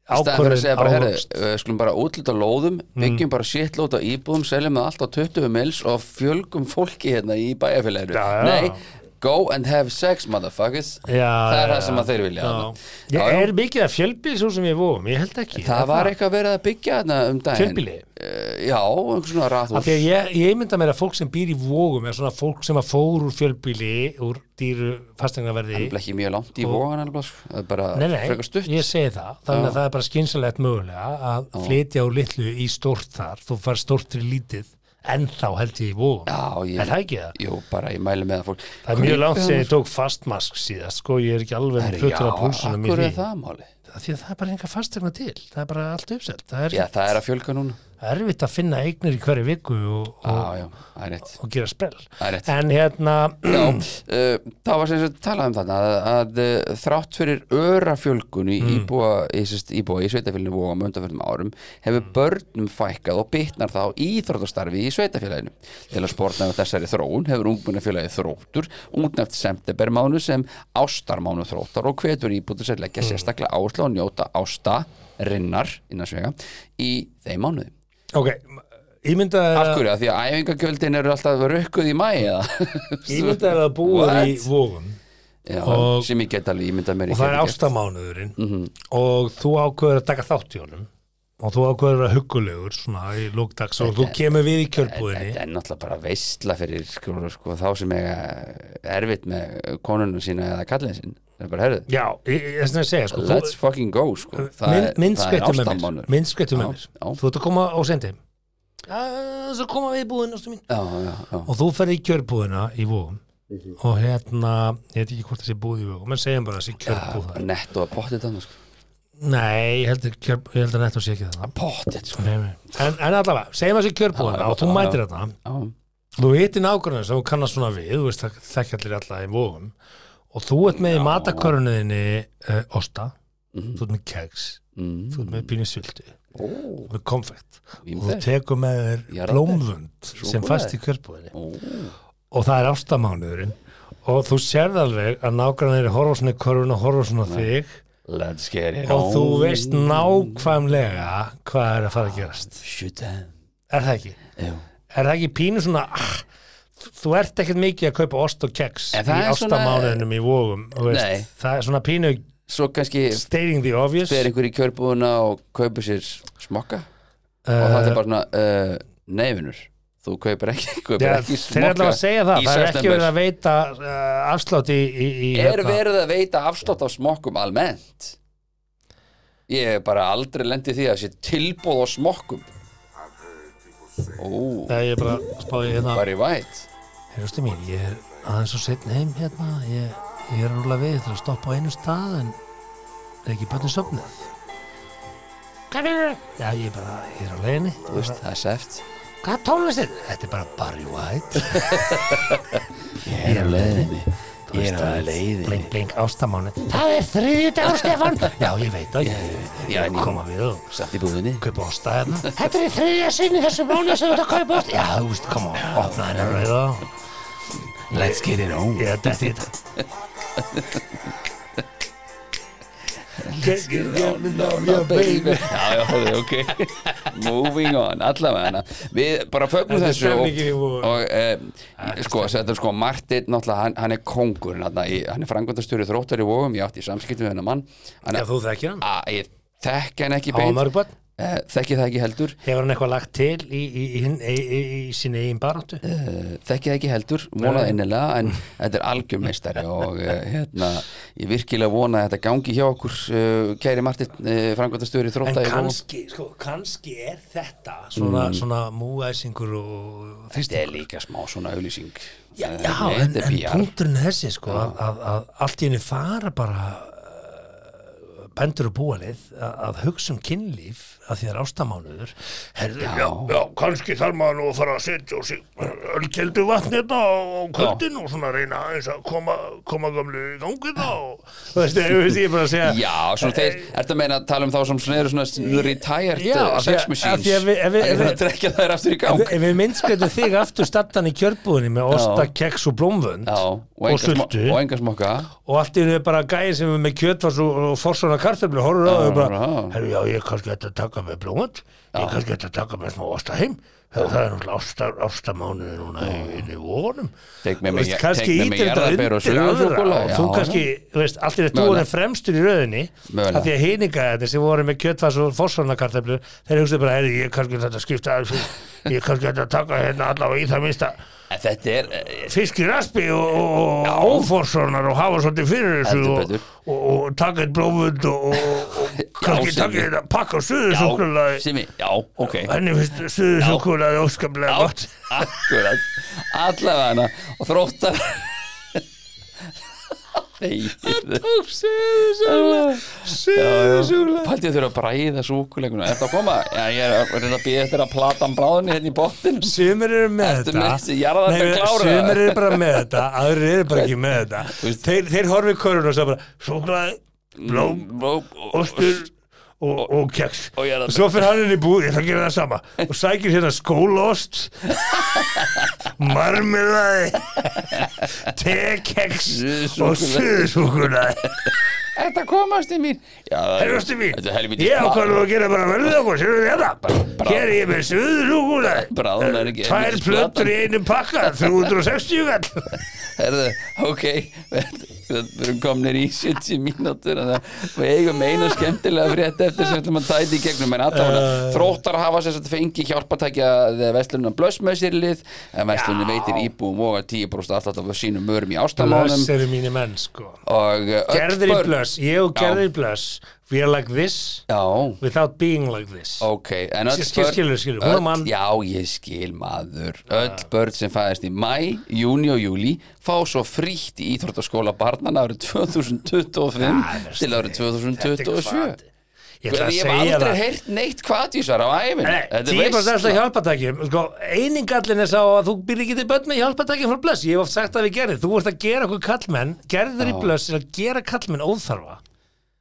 staðan fyrir að segja bara, herri, ákvörðin við skulum bara útluta lóðum Mm. byggjum bara shit lóta íbúðum, seljum það allt á 20 mils og fjölgum fólki hérna í bæjarfélaginu Já, já. nei, Go and have sex, motherfuckers Já, Það er já, það sem að þeir vilja já. þarna. Já, Já, já. er mikið af fjölbílshúsum í vóum, ég held ekki Það var eitthvað verið að byggja þarna um daginn Fjölbýli? Eh, Já, einhvers svona Af rathús því að ég, ég mynda mér að fólk sem býr í vógum er svona fólk sem að fór úr fjölbíli úr dýru fastegnaverði Það er ekki mjög langt í vogan alveg sko. Það er bara Nei, nei, frekar stutt ég segi það þannig að það er bara skynsalegt mögulega að flytja úr litlu í stórt þar þú far stórt til lítið en þá held ég í vóum Já, ég- er það ekki það? Jú, bara ég mæli með að fólk Það er mjög langt sem segir ég tók fastmask síðast sko, ég er ekki alveg með Já, plötur á púlsunum í akkur því er það máli Af því að það er bara enga fastegna til það er bara allt uppselt það er Já, það er að fjölga núna erfitt að finna eignir í hverju viku og, Já, og, já, það er rétt og gera sprell Það er rétt. en hérna Já, uh, það var sem sagt talað um þarna að, að eh, þrátt fyrir öra fjölgun í íbúa, í, sest, íbúa í sveitafélaginu og á möndafjörnum árum hefur börnum fækkað og bitnar þá í íþróttastarfi í sveitafélaginu. Til að spórna með þessari þróun hefur ungmennafélagið þróttur útnæft septembermánu sem ástarmánu þróttar og hvetur íbútur sér leggja sérstaklega áherslu og njóta ásta rinnar innan svega í þeim mánuði. ok, ímynda er Af að hverju? Af því að æfingagjöldin eru alltaf rökkuð í mæi eða? ímynda er að búa What? í vógum Já, Og- sem ég get alveg ímyndað mér í og það er hverju gert. ástamánuðurinn Mhm. og þú ákveður að taka þátt í honum og þú ákveður að vera huggulegur svona í lókdags og þú kemur við í kjörbúðinni Þetta er náttúrulega bara veistla fyrir sko, sko, þá sem eiga erfitt með konunum sína eða kallin sín það er bara herðu, já, ég ég- þess að segja sko, þú- let's fucking go sko. það, mynd- er- það er myndskeyttu með mér ástamánur myndskeyttu með Já, mér, já. þú ert að koma og sendi já, svo koma við í búðin ástu mín já, já, já. og þú ferði í kjörbúðina í vóðum Mhm. og hérna, ég veit ekki hvort þessi búð í vóðum menn segjum bara þessi Það er kjörbúð bara netto að potið þannig sko. nei, ég held, að kjör, ég held að netto sé ekki það potið sko. Nei, nei. en, en allavega, segjum þessi kjörbúðina Já, og þú já, mætir þetta já, þú hittir nákvæmlega sem þú kannast svona við þú veist það þekkja allir alla í vóðum og þú ert með í matakörunniðinni uh, osta, Mhm. þú ert með kegs mm, þú ert með pínu sultu ó, þú ert með konfekt og þú ímyndað. tekur með þér Jarðarber. blómvönd sem Súkkulaði. fast í kjörbúðinni Ó, og það er ástamánuðurinn og þú sérð alveg að nákvæmlega er horfa svona í körfun og horfa svona á þig let's get it og þú on. veist nákvæmlega hvað er að fara að gerast shoot them er það ekki? Já. er það ekki pínu svona ah, þú ert ekkert mikið að kaupa ost og keks í En það er svona- ástamánuðinum í vógum þú Nei. veist, það er svona pínu svo kannski stating the obvious fer einhver í kjörbúðuna og kaupir sér smokka Eh, og það er bara svona uh, neyfinur þú kaupir ekki, kaupir ja, ekki þeir smokka er allavega að segja það í það er ekki september. verið að veita uh, afslátt í, í, í er hérna- verið að veita afslátt á smokkum almennt ég hef bara aldrei lendið því að sé tilbúð á smokkum ó, Nei, ég er bara að spá í hérna Barry White Herustu mín, ég er aðeins og setn heim hérna ég, ég er rúla við til að stoppa á einu stað en er ekki bönni söfnið Hvað finnur þau? Já, ég er bara, ég er á leiðinni þú veist, það er sæft Hvað tónlist er? Þetta er bara Barry White ég er á leiðinni ég er á Blink, leiðinni blink, ástamáni Það er þriðið dagur, Stefan Já, ég veit það, ég, ég, Já, en ég ég- koma við og satt í búðinni kaupa ásta hérna Þetta er þriðja sinni þessu mánu sem þú ert að kaupa ásta Já, þú veist, koma, opna hérna rauða let's get it on Ég er dætt í þetta Get, get, get me now, yeah, baby já, já, heyrðu, ok moving on, allavega við bara fögnum Þetta er þessu og, stemningin í Vogunum. og e, sko, þetta er sko Martin, náttúrulega, hann, hann er kongur hann, hann er frangöndastjóri þróttar í vóum ég átti í samskiptum við hennar mann hann, Já, þú þekkir hann að, ég þekki hann ekki Á beint mörgböld e, þekki það ekki heldur Hefur hann eitthvað lagt til í, í, í, í, í, í, í sinni eigin baráttu? Eh, þekki það ekki heldur, vonaði innilega en þetta er algjörmeistari og eh, hérna, ég virkilega vona að þetta gangi hjá okkur, eh, kæri Martin frangöndastjóri En þróttar í Vogum kannski, sko, kannski er þetta svona, svona múæsingur og þetta er líka smá svona auðlýsing Já, Eh, já en, þetta er en PR. punkturinn er þessi sko, að, að, að allt í henni fara bara uh, bændur og búalið að, að hugsa um kynlíf að því það er ástamánuður herðu, já. já, kannski þarf maður nú að fara að setja og sig ölkeldu vatn hérna á kvöldin og svona reyna eins að koma, koma gamlu í gangi þá og þú veist, ég veist, ég er bara að segja Já, svona þeir, ertu að meina að tala um þá sem svona eru svona s- retired Já, uh, af því að- sex af machines því að við- ef við- ef Það er við- að trekja þær aftur í gang Ef við minnskættu þig aftur stattan í kjörbúðinni með osta, keks og blómvönd Já, og og enga sm- sultu og enga smokka og allt í henni er bara gæði sem er með kjötfars og, og forsvona kartöflu horfður á þau og bara, já. herru já, ég er kannski hægt að taka með blómönd ég er kannski hægt að taka með smá osta heim það er náttúrulega ástar, ástamánuði núna í, í vonum Tek með Þú mig- veist, tek kannski með mig ítir þetta jarðarber og undir suðusúkkulaði. aðra og þú Já, kannski, þú veist, allir þetta voru Mögulega. fremstur í rauðinni Mögulega. af því að heininga þetta sem voru með kjötfars og fórsvarnakarteflu þeir hugsaðu bara, heyrðu, ég er kannski þetta skipta aðeins út. ég er kannski þetta að taka hérna allavega í það minnsta En þetta er, eh, fisk í raspi og, og, og óforsvarnar og hafa svolítið fyrir þessu Heldur og, betur. og, og taka eitt blófund og, og, og kannski Simmi. taka þetta pakka á já, suðusúkulagi Simi, já, ok henni finnst suðusúkulagi óskaplega gott Akkurat, allavega hana og þróttar Nei Það tók suðusúkulega Suðusúkulega Paldið þurfa að bræða súkuleguna Ertu að koma? Já, ég er að reyna að býða eftir að platan bráðinni hérna í botninu sumir eru með Ertu þetta með þessi jarðarber Nei, klára? sumir eru bara með þetta aðrir eru bara ekki með Þú þetta veist- Mm. þeir, þeir horfið körun og svo bara súklaði, blóm, ostur og, og keks og jarðarber. svo fyrir hann inn í búð, ég ætla að gera það sama og sækir hérna skólaost marmelaði tekeks og Suðusúkkulaði. suðsúkunaði Ertu að komast í mín? Já, Herrastu mín, Þetta er helvítið ég ákvað nú að gera bara verðið okkur, sér við þetta Bra- hérna. Hér er ég með suðurúkuna Bráðum er ekki- Tvær ekki plötur í platan. einum pakka, 360 gall Herðu, ok Við erum komnir í 70 mínútur en það- Við eigum einu skemmtilega frétt eftir sem við ætlum að tæti í gegnum en allavega þróttar hafa sér að fengi hjálpatækja þegar Vestlunum blöss með sér í lið en Vestlunum veitir íbúum og að 10% alltaf af sínum mörum í ástamánum eru mínir menn sko og öll Gerður í börn- blöss, ég og Já. gerður í blöss We are like this Já, without being like this Ok, en öll Skil- börn- skilur, skilur, hún er mann. öll, Já, ég skil maður Öll börn sem fæðist í mæ, júni og júli fá svo frítt í Íþróttaskóla barnana árið 2025 til árið Þetta er 2027 hvati. Ég ætla að Ég hef segja aldrei það heyrt neitt kvatvísar á æfin Nei, Tíu bara þess að hjálpatækjum sko, Einingallin er sá að þú býr ekki til börn með hjálpatækjum frá blöss Ég hef oft sagt að við gerðið Þú vorst að gera okkur kallmenn Gerður í blöss er að gera kallmenn óþarfa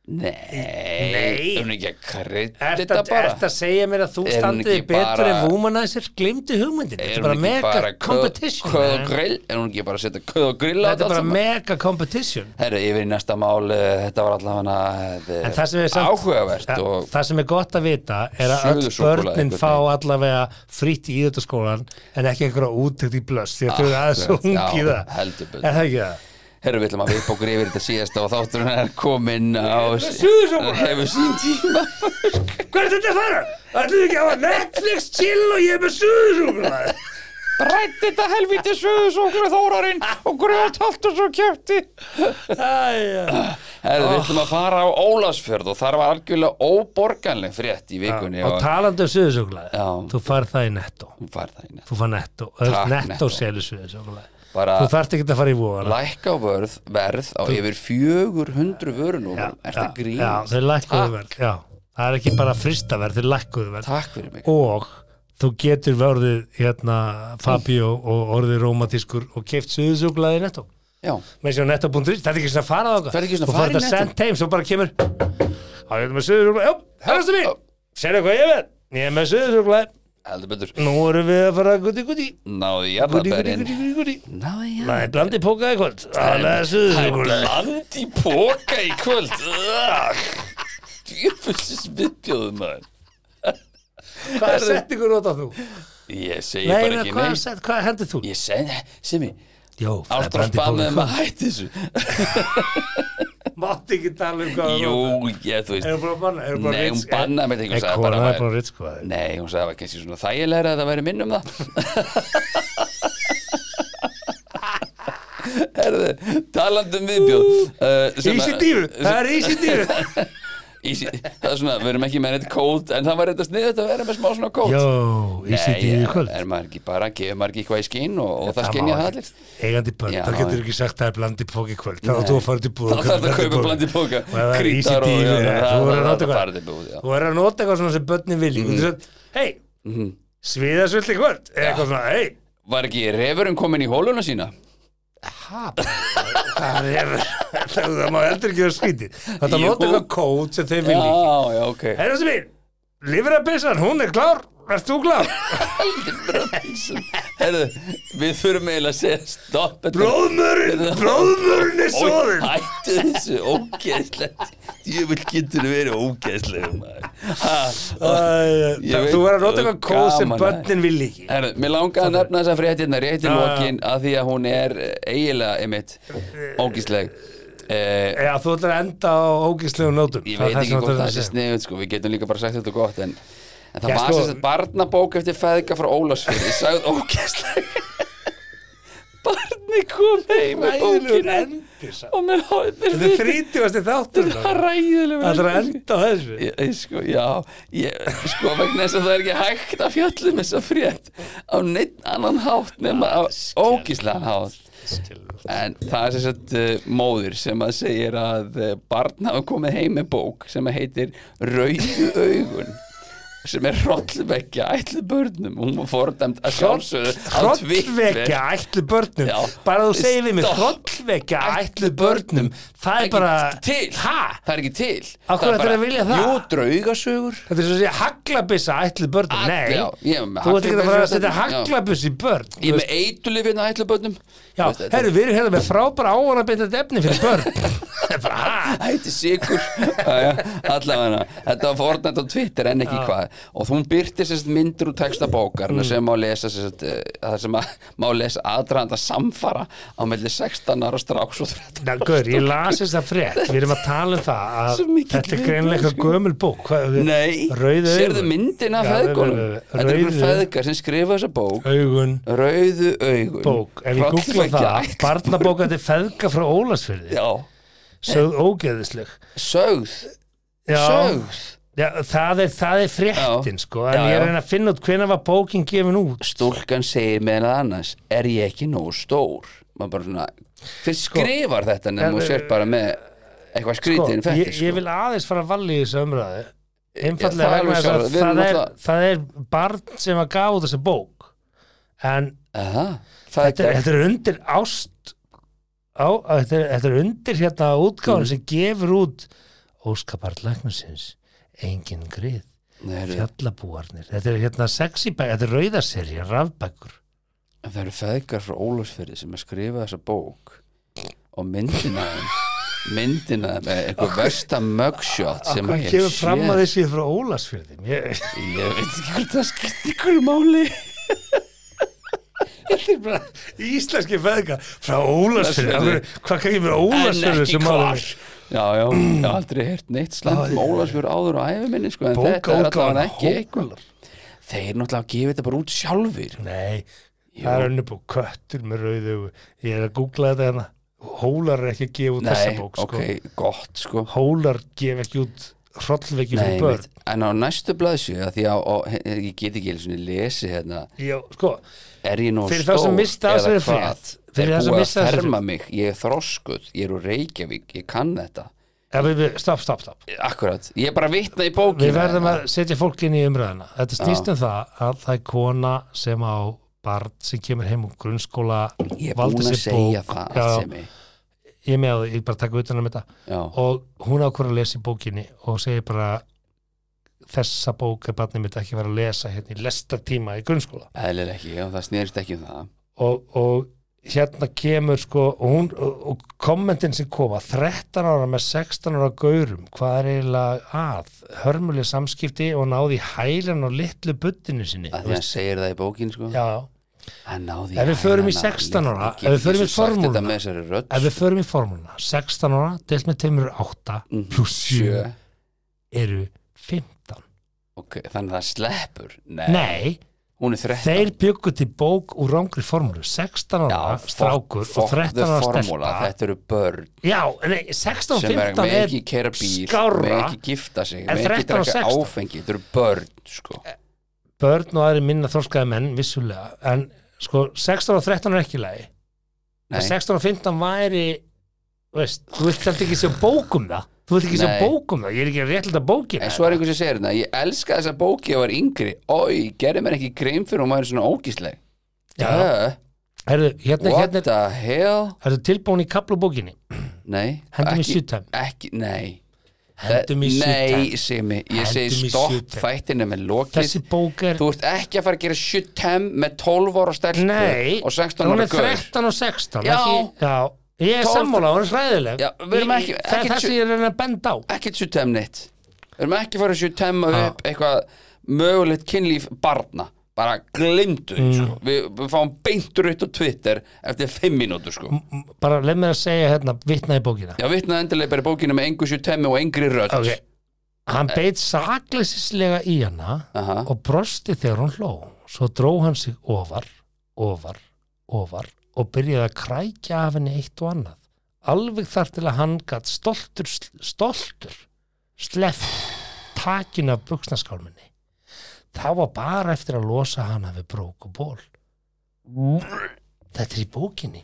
Nei. Nei, hún er ekki að kredda Ert þetta að, bara ert að segja mér að þú Er hún standið ekki betur bara- en Womanizer glimti hugmyndin Þetta er bara mega competition köð og man. grill Er hún ekki bara að setja köð og grill á Þetta er bara saman? mega competition Herru, yfir í næsta mál, eh, þetta var allavega eh, En það sem er samt- áhugavert Þa- og Það sem er gott að vita er að öll Suðusúkkulaði börnin einhvern fá allavega fritt í íðutaskólan en ekki einhverja útrykt í blöss því að þau eru aðeins Akkurat, ungi Ah, já, það heldur betur. Er það ekki það? Herru, við ætlum að við bókur yfir þetta síðasta og þátturinn er kominn á hefur sín tíma Hvað er þetta að fara? Ætlum við ekki að hafa Netflix chill og ég er með suðusúklaði Rætt þetta helvítið söðusóklu þórarinn og gröð haldur svo kjöpti Herru, Ah. við ætlum að fara á Ólasfjörð og þar var algjörlega óborganleg frétt Ah, í vikunni Og talandi um suðusúklaði Já. Þú farð það í netto Hún fær það inn Þú fann netto, öll Takk, netto Netto. selur suðusúklaði Bara Þú þarft ekki að fara í vóðana lækka á vörð, verð á yfir 400 vörunum Er þetta Já, grín? þeir lækkuðu verð Já, það er ekki bara frista verð, þeir lækkuðu verð Takk fyrir mig Og þú getur verðið hérna Fabio og orðið rómatískur og keft suðusúklaði í netto Já, með sér á netto.is, þetta er ekki svona að fara á okkar Ferðu ekki svona að Þú fara í ferð að Netto? senda heim, svo bara kemur Já, ég er með suðusúklaði, já, herrastu mín Já. Serðu hvað ég er með? Ég er með suðusúklaði heldur betur Nú erum við að fara guti guti Náðu í Guti guti jarðabærin guti guti guti Náðu í Það er blandið pókaði kvöld Það er suðusúklaði bland í póka í kvöld Djöfusins viðbjóðum maður Hvað settingur nota þú? Ég segi Nei, bara menn, ekki hvað, neitt set, hvað hendur þú? Ég segi, Simi, Jó, Ástrós um bað með maður hætti þessu Mátti ekki tala um hvað Jú, ég, þú Erum veist bara að banna? Erum bara Nei, um hún bannaði mér Nei, eitthvað sagði kona bara er að bara væri- að ritskoða þig Nei, hún sagði að það var kannski svona þægilegra að það væri minn um það Herðu, talandum viðbjóð uh, sem að- Ísi dýru, það er ísi dýru Easy, það er svona, við erum ekki með neitt kód en það var eitthvað sniðið að vera með smá svona kód Jó, ísi dýru í er, kvöld er maður ekki bara, gefur maður ekki eitthvað í skinn og, og það má skinn ég það ekkert. allir Eigandi börn, Já, það getur já. ekki sagt að það er blandi póki kvöld Þá þú að fara til búð þá þarf það að kaupa bland í póka Og ef það er ísi og dýru, já, það- þú verður að það- nota það eitthvað farið til búð, já. Mhm. Þú verður að nota eitthvað svona sem börnin vilji Hei, sviðasvill í kvöld Eða Eitthvað svona, hei var ekki refurinn komin í hóluna sína það er það má heldur ekki vera skrítið þetta Jú. nota eitthvað kót sem þau já, vilji já, ok herra sem mín, livrabissan, hún er klár ert þú klár? Herðu, við þurfum eiginlega að segja stopp þetta- blóðmörinn, blóðmörinn er Oj, svoðinn hættu þessu, ógeðslegt djöfull getur verið ógeðslegum Æ, Ég veit- Þú verður að nota eitthvað kóð sem Gaman, eh. börnin vil ekki Herðu, mér langaði að nefna þessa frétt hérna rétt í Já, já. lokin að því að hún er eh, eiginlega, einmitt, ógeðsleg eh, Já, þú ætlar að enda á ógíslegum nótum Ég Það er veit sem ekki þú hvort ætlar að það sé segja. sniðut sko, við getum líka bara sagt þetta gott en, en það Já, var sko- sko, sérst barnabók eftir feðga frá Ólafsfjörði sagði ógæslega Barni kom heim með Hræðilegur bókina endir samt. og með hóðir Þetta er þrítjúasti þáttur Það er ræðilega Það er að enda á þessu Ég, ég- sko, já, ég, sko vegna þess að það er ekki hægt að fjallum þessa frétt á neitt annan hátt nema á ógíslegan hátt en það er sem sagt uh, móður sem að segir að uh, barn hafa komið heim með bók sem að heitir Rauðu augun sem er hrollvekja ætlu börnum hún var fordæmt að sjálfsögðu á Twitter. Hrollvekja ætlu börnum Já. Bara þú segir við mig Stopp. Hrollvekja ætlu börnum Það er Ekki bara til. Ha? það er ekki til Af hverju Það er ættirðu bara- að vilja það? Jú, draugasögur Þetta er svo að segja haglabissa ætlu börnum All- Nei já, ég er með Þú ert ekki að fara að haglabyssu- setja Já. haglabiss í börn Ég er með eitulif hérna ætlu börnum Já, herru, við erum hérna með frábæra áhverja betið efni fyrir börn Það er bara, ha? Ætti sigur Allavega, þetta var fornætt á Twitter en ekki hvað og hún byrti sérst myndir úr texta bókar Mm. sem má lesa sérst, það sem að, má lesa aðdraðanda samfara á melli 16 ára stráks og 13 Ná, Gaur, ég las þess að frétt Við erum að tala um það að Svo mikill Þetta er vindur, greinlega sko. gömul bók Hvað- Nei, Rauð augun sérðu myndina af Já, feðgunum við- við- við- Þetta er einhver rauðu- feðgar sem skrifa þessa bók Augun Rauðu augun bók Ef ég googla Hrollvekja það ætt- Barnabókandi feðga frá Ólasfyrði Já, Sögð ógeðisleg sögð, Já, sögð já það, er, það er fréttin sko En Já, ég er já. að reyna að finna út hvenær var bókin gefin út sko. Stúlkan segir meðan að annars Er ég ekki nógu stór? Maður bara svona Fyrst skrifar þetta en, nefnum og sér bara með Eitthvað sko, skrítið ég, fættir ég vil aðeins fara að valli í þessu umræðu Já, það einfallega er vegna alveg þess að sjálfsagt. Við erum það er, náttúrulega- það er barn sem að gaf út þessi bók en Aha, Það þetta, er- er þetta er undir ást á, á- þetta, er, þetta er undir hérna Mm. útgáðan sem gefur út óskaparlæknarsins engin grið, ekki fjallabúarnir þetta er hérna sexy bæk, þetta er rauðaserja rafbækur Það eru feðgar frá Ólafsfyrði sem er skrifað þessa bók Og myndina af þeim Myndina þeim er Eitthvað versta mugshot sem hvað ég hef kemur fram séð. að þessi frá Ólasfjörðum ég, Ég veit ekki hvort það skiptir ykkur máli þetta er bara íslenski feðga frá Ólasfjörðum Ólafsfirði. hvað kemur En Ólasfjörðum ekki sem hvar máli Já, já, ég hef aldrei heyrt neitt slæmt Mólafsfjör áður á æfiminni sko, En þetta er allavega ekki eitthvað Þeir náttúrulega gefið þetta bara út sjálfur Nei, það er önnur bók Köttur með rauðu augu. Ég er að googla þetta hérna Hólar er ekki að gefa út þessa Nei, bók sko. ok, gott sko Hólar gef ekki út Hrollveki Nei, fyrir mitt, börn en á næstu blaðsju að Því að á, ég get ekki einu sinni lesið hérna Já, sko, Er ég nú Fyrir þá stór sem missa af eða þessari hvað? frétt. Það Fyrir er þá sem búið missa af að þessari ferma mig, ég er þroskuð Ég er úr Reykjavík, ég kann þetta ja, við, við, stopp, stopp, stopp Akkurat, ég er bara að vitna í bókina Við verðum að setja fólk inn í umræðina Þetta snýst um það að það er kona sem á barn sem kemur heim úr grunnskóla Ég er valdi búin að sér segja bók. það Já, allt sem ég Ég er með á því, ég er bara að taka utan um þetta Já, og hún ákvör að lesa í bókinni og segir bara þessa bók er barnið mitt ekki verið að lesa hérna í lesta tíma í grunnskóla eðlir ekki, já, það snerist ekki um það og, og hérna kemur sko og, hún, og, og kommentin sem koma 13 ára með 16 ára gaurum hvað er eiginlega að hörmuleg samskipti og náði í hælan og litlu buttinu sinni að því hann segir það í bókin sko. já, já. Hann náði Ef við hæðina förum í á 16 ára, litlu- ef við förum í Ég get svo sagt formúluna. þetta með þessari rödd, ef við förum í formúluna 16 ára, delt með teimur 8 Mhm. plus 7 sjö. eru 15 Ok, þannig að það sleppur Nei, nei, hún er 13 þeir byggu til bók úr rángri formúlu 16 Já, ára strákur fuck- og fuck 13 the ára formula, stelpa Þetta eru börn já, nei, 16 og sem er, 15 með er ekki kera bíl skárra með ekki gifta sig en með ekki 13 og drekka 16. áfengi þetta eru börn sko. börn og aðri minna þorskaði menn vissulega, en sko 16 og 13 er ekki í lagi Nei. en 16 og 15 væri þú veist, þú vilt þetta ekki sjá bókum það þú vilt ekki sjá Nei. bókum það, ég er ekki að réttlega bókina en svo er einhver sem segir þetta ég elska þessa bóki ég var yngri oi, gerði mér ekki grein fyrir hún væri svona ógísleg Já. Duh, herðu, hérna, what hérna er, the hell er tilbúin í kaplubókinni nei, Hendum í ekki- sjúttæm. ekki, nei Hendum í Nei, sjúttæm. Simi, ég Hendum í segi stopp sjúttæm. þættinu með lokið þessi bók er Þú ert ekki að fara að gera 7 með 12 ára stelpu Nei, og 16 hún ára er gaur 13 og 16 Já. ekki, já, Ég er Tólf- sammála, hún er hræðileg Já, við erum Ég- ekki- Það ekki er það tjú- sem ég er að reyna að benda á ekkert sjutem neitt við erum ekki farið að sjutema upp eitthvað mögulegt kynlíf barna bara glimtu því Mm. sko. við, við fáum beintur út á Twitter eftir fimm mínútur sko. M- Bara leið mér að segja hérna, vitna í bókina já vitnaði endilega bara í bókinu með engu sjutemi og engri rödd Ok Hann Eh. beit sakleysislega í hana Aha. og brosti þegar hún hló Svo dró hann sig ofar, ofar, ofar og byrjaði að krækja af henni eitt og annað Alveg þar til að hann gatt stoltur, sl- stoltur sleft takin af buksnaskálminni Þá var bara eftir að losa hana við brók og ból Þetta er í bókinni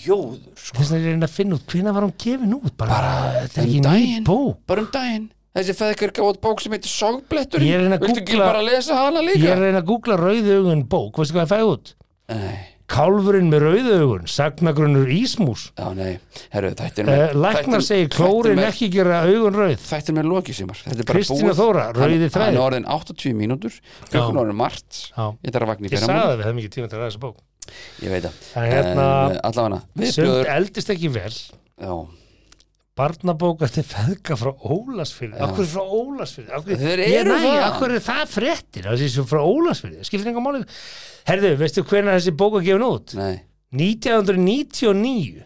jóður sko. Þess vegna er ég að reyna að finna út hvenær var hún gefin út bara, þetta er um ekki ný daginn. bók bara um daginn þessi feðkar gáði bók sem heitir Sogblettur Ég er að reyna að viltu ekki googla- bara lesa hana Ég er líka að reyna að googla rauðaugun bók, veistu hvað ég fæði út? nei, Kálfurinn með rauðaugun, sagnagrunnur ísmús já nei, herru þættir eh, Læknar segir klórin ekki gera augun rauð þættir með lokið sem var Þetta er bara Kristína búið. Þóra, rauði hann, hann er þræð orðin 80 mínútur klukkan Já. orðin margt Já. ég þarf að vakna í Ég fyrra sagði múl það við hefum ekki tíma til að ræða þessa bók ég veit það Það er hérna, en, eh, allavega Sund viðbjöður eldist ekki vel já Barnabók eftir feðga frá Ólasfyrði Akkur er frá Ólasfyrði Akkur, Þeir ég, eru nei, það. akkur er það fréttir Það sé svo frá Ólasfyrði, skiptir enga máli Herðu, veistu hvernig þessi bók er gefin út? nei 1999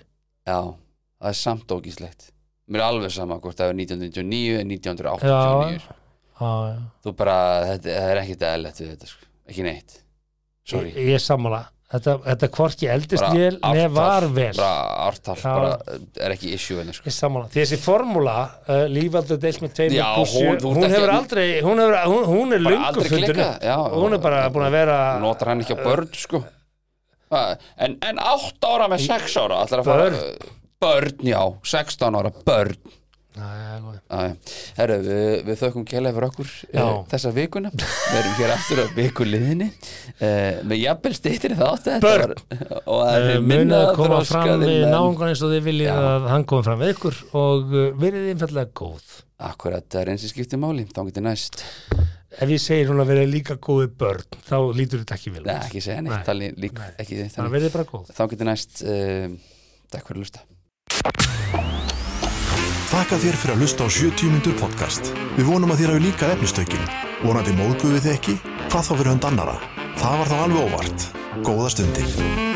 já það er samt ógíslegt mér er alveg sama hvort það er 1999 eða 1989 Já, já, já þú bara þetta það er ekkit eðlilegt við þetta sko. ekki neitt sorry Ég, ég er sammála Þetta, þetta hvorki eldist Bara vel ártal, neð var vel bara ártal Já. bara er ekki issue henni sko. Ég er sammála Því þessi formúla uh, lífaldur deilt með tveimur Já, plús sjö, hún- þú ert hún ekki- hefur aldrei hún, hefur, hún, hún er Bara löngu aldrei fundin klikkað, upp. já. Hún er bara búin að vera notar hann ekki á börn sko Ha, en, en 8 ára með 6 ára ætlar að fara börn, já, 16 ára börn Nei, já, Æ, herru, við, við þökkum kjælega fyrir okkur Já. uh, þessa vikuna við erum hér aftur á vikuliðinni uh, með jafnvel stýttir þátt þetta Börn. var, og það Eh, er munið minna að koma fram þroskaðir við menn. náungan eins og þið viljið að hann kom fram við ykkur og uh, verið einfallega góð akkurat, það er eins og skiptir máli þá getur næst, ef ég segir hún að vera líka góði börn þá lítur þetta ekki vel Nei, ekki segja neitt Nei. tali, lík, ekki, það þannig, verið bara góð þá getur næst uh, takk fyrir að lusta Þakka þér fyrir að hlusta á 70 mínútur podcast. Við vonum að þér hafi líka efnistökin. Vonandi móðguðu þið ekki? Hvað þá fyrir hund annara? Það var þá alveg óvart. Góða stundir.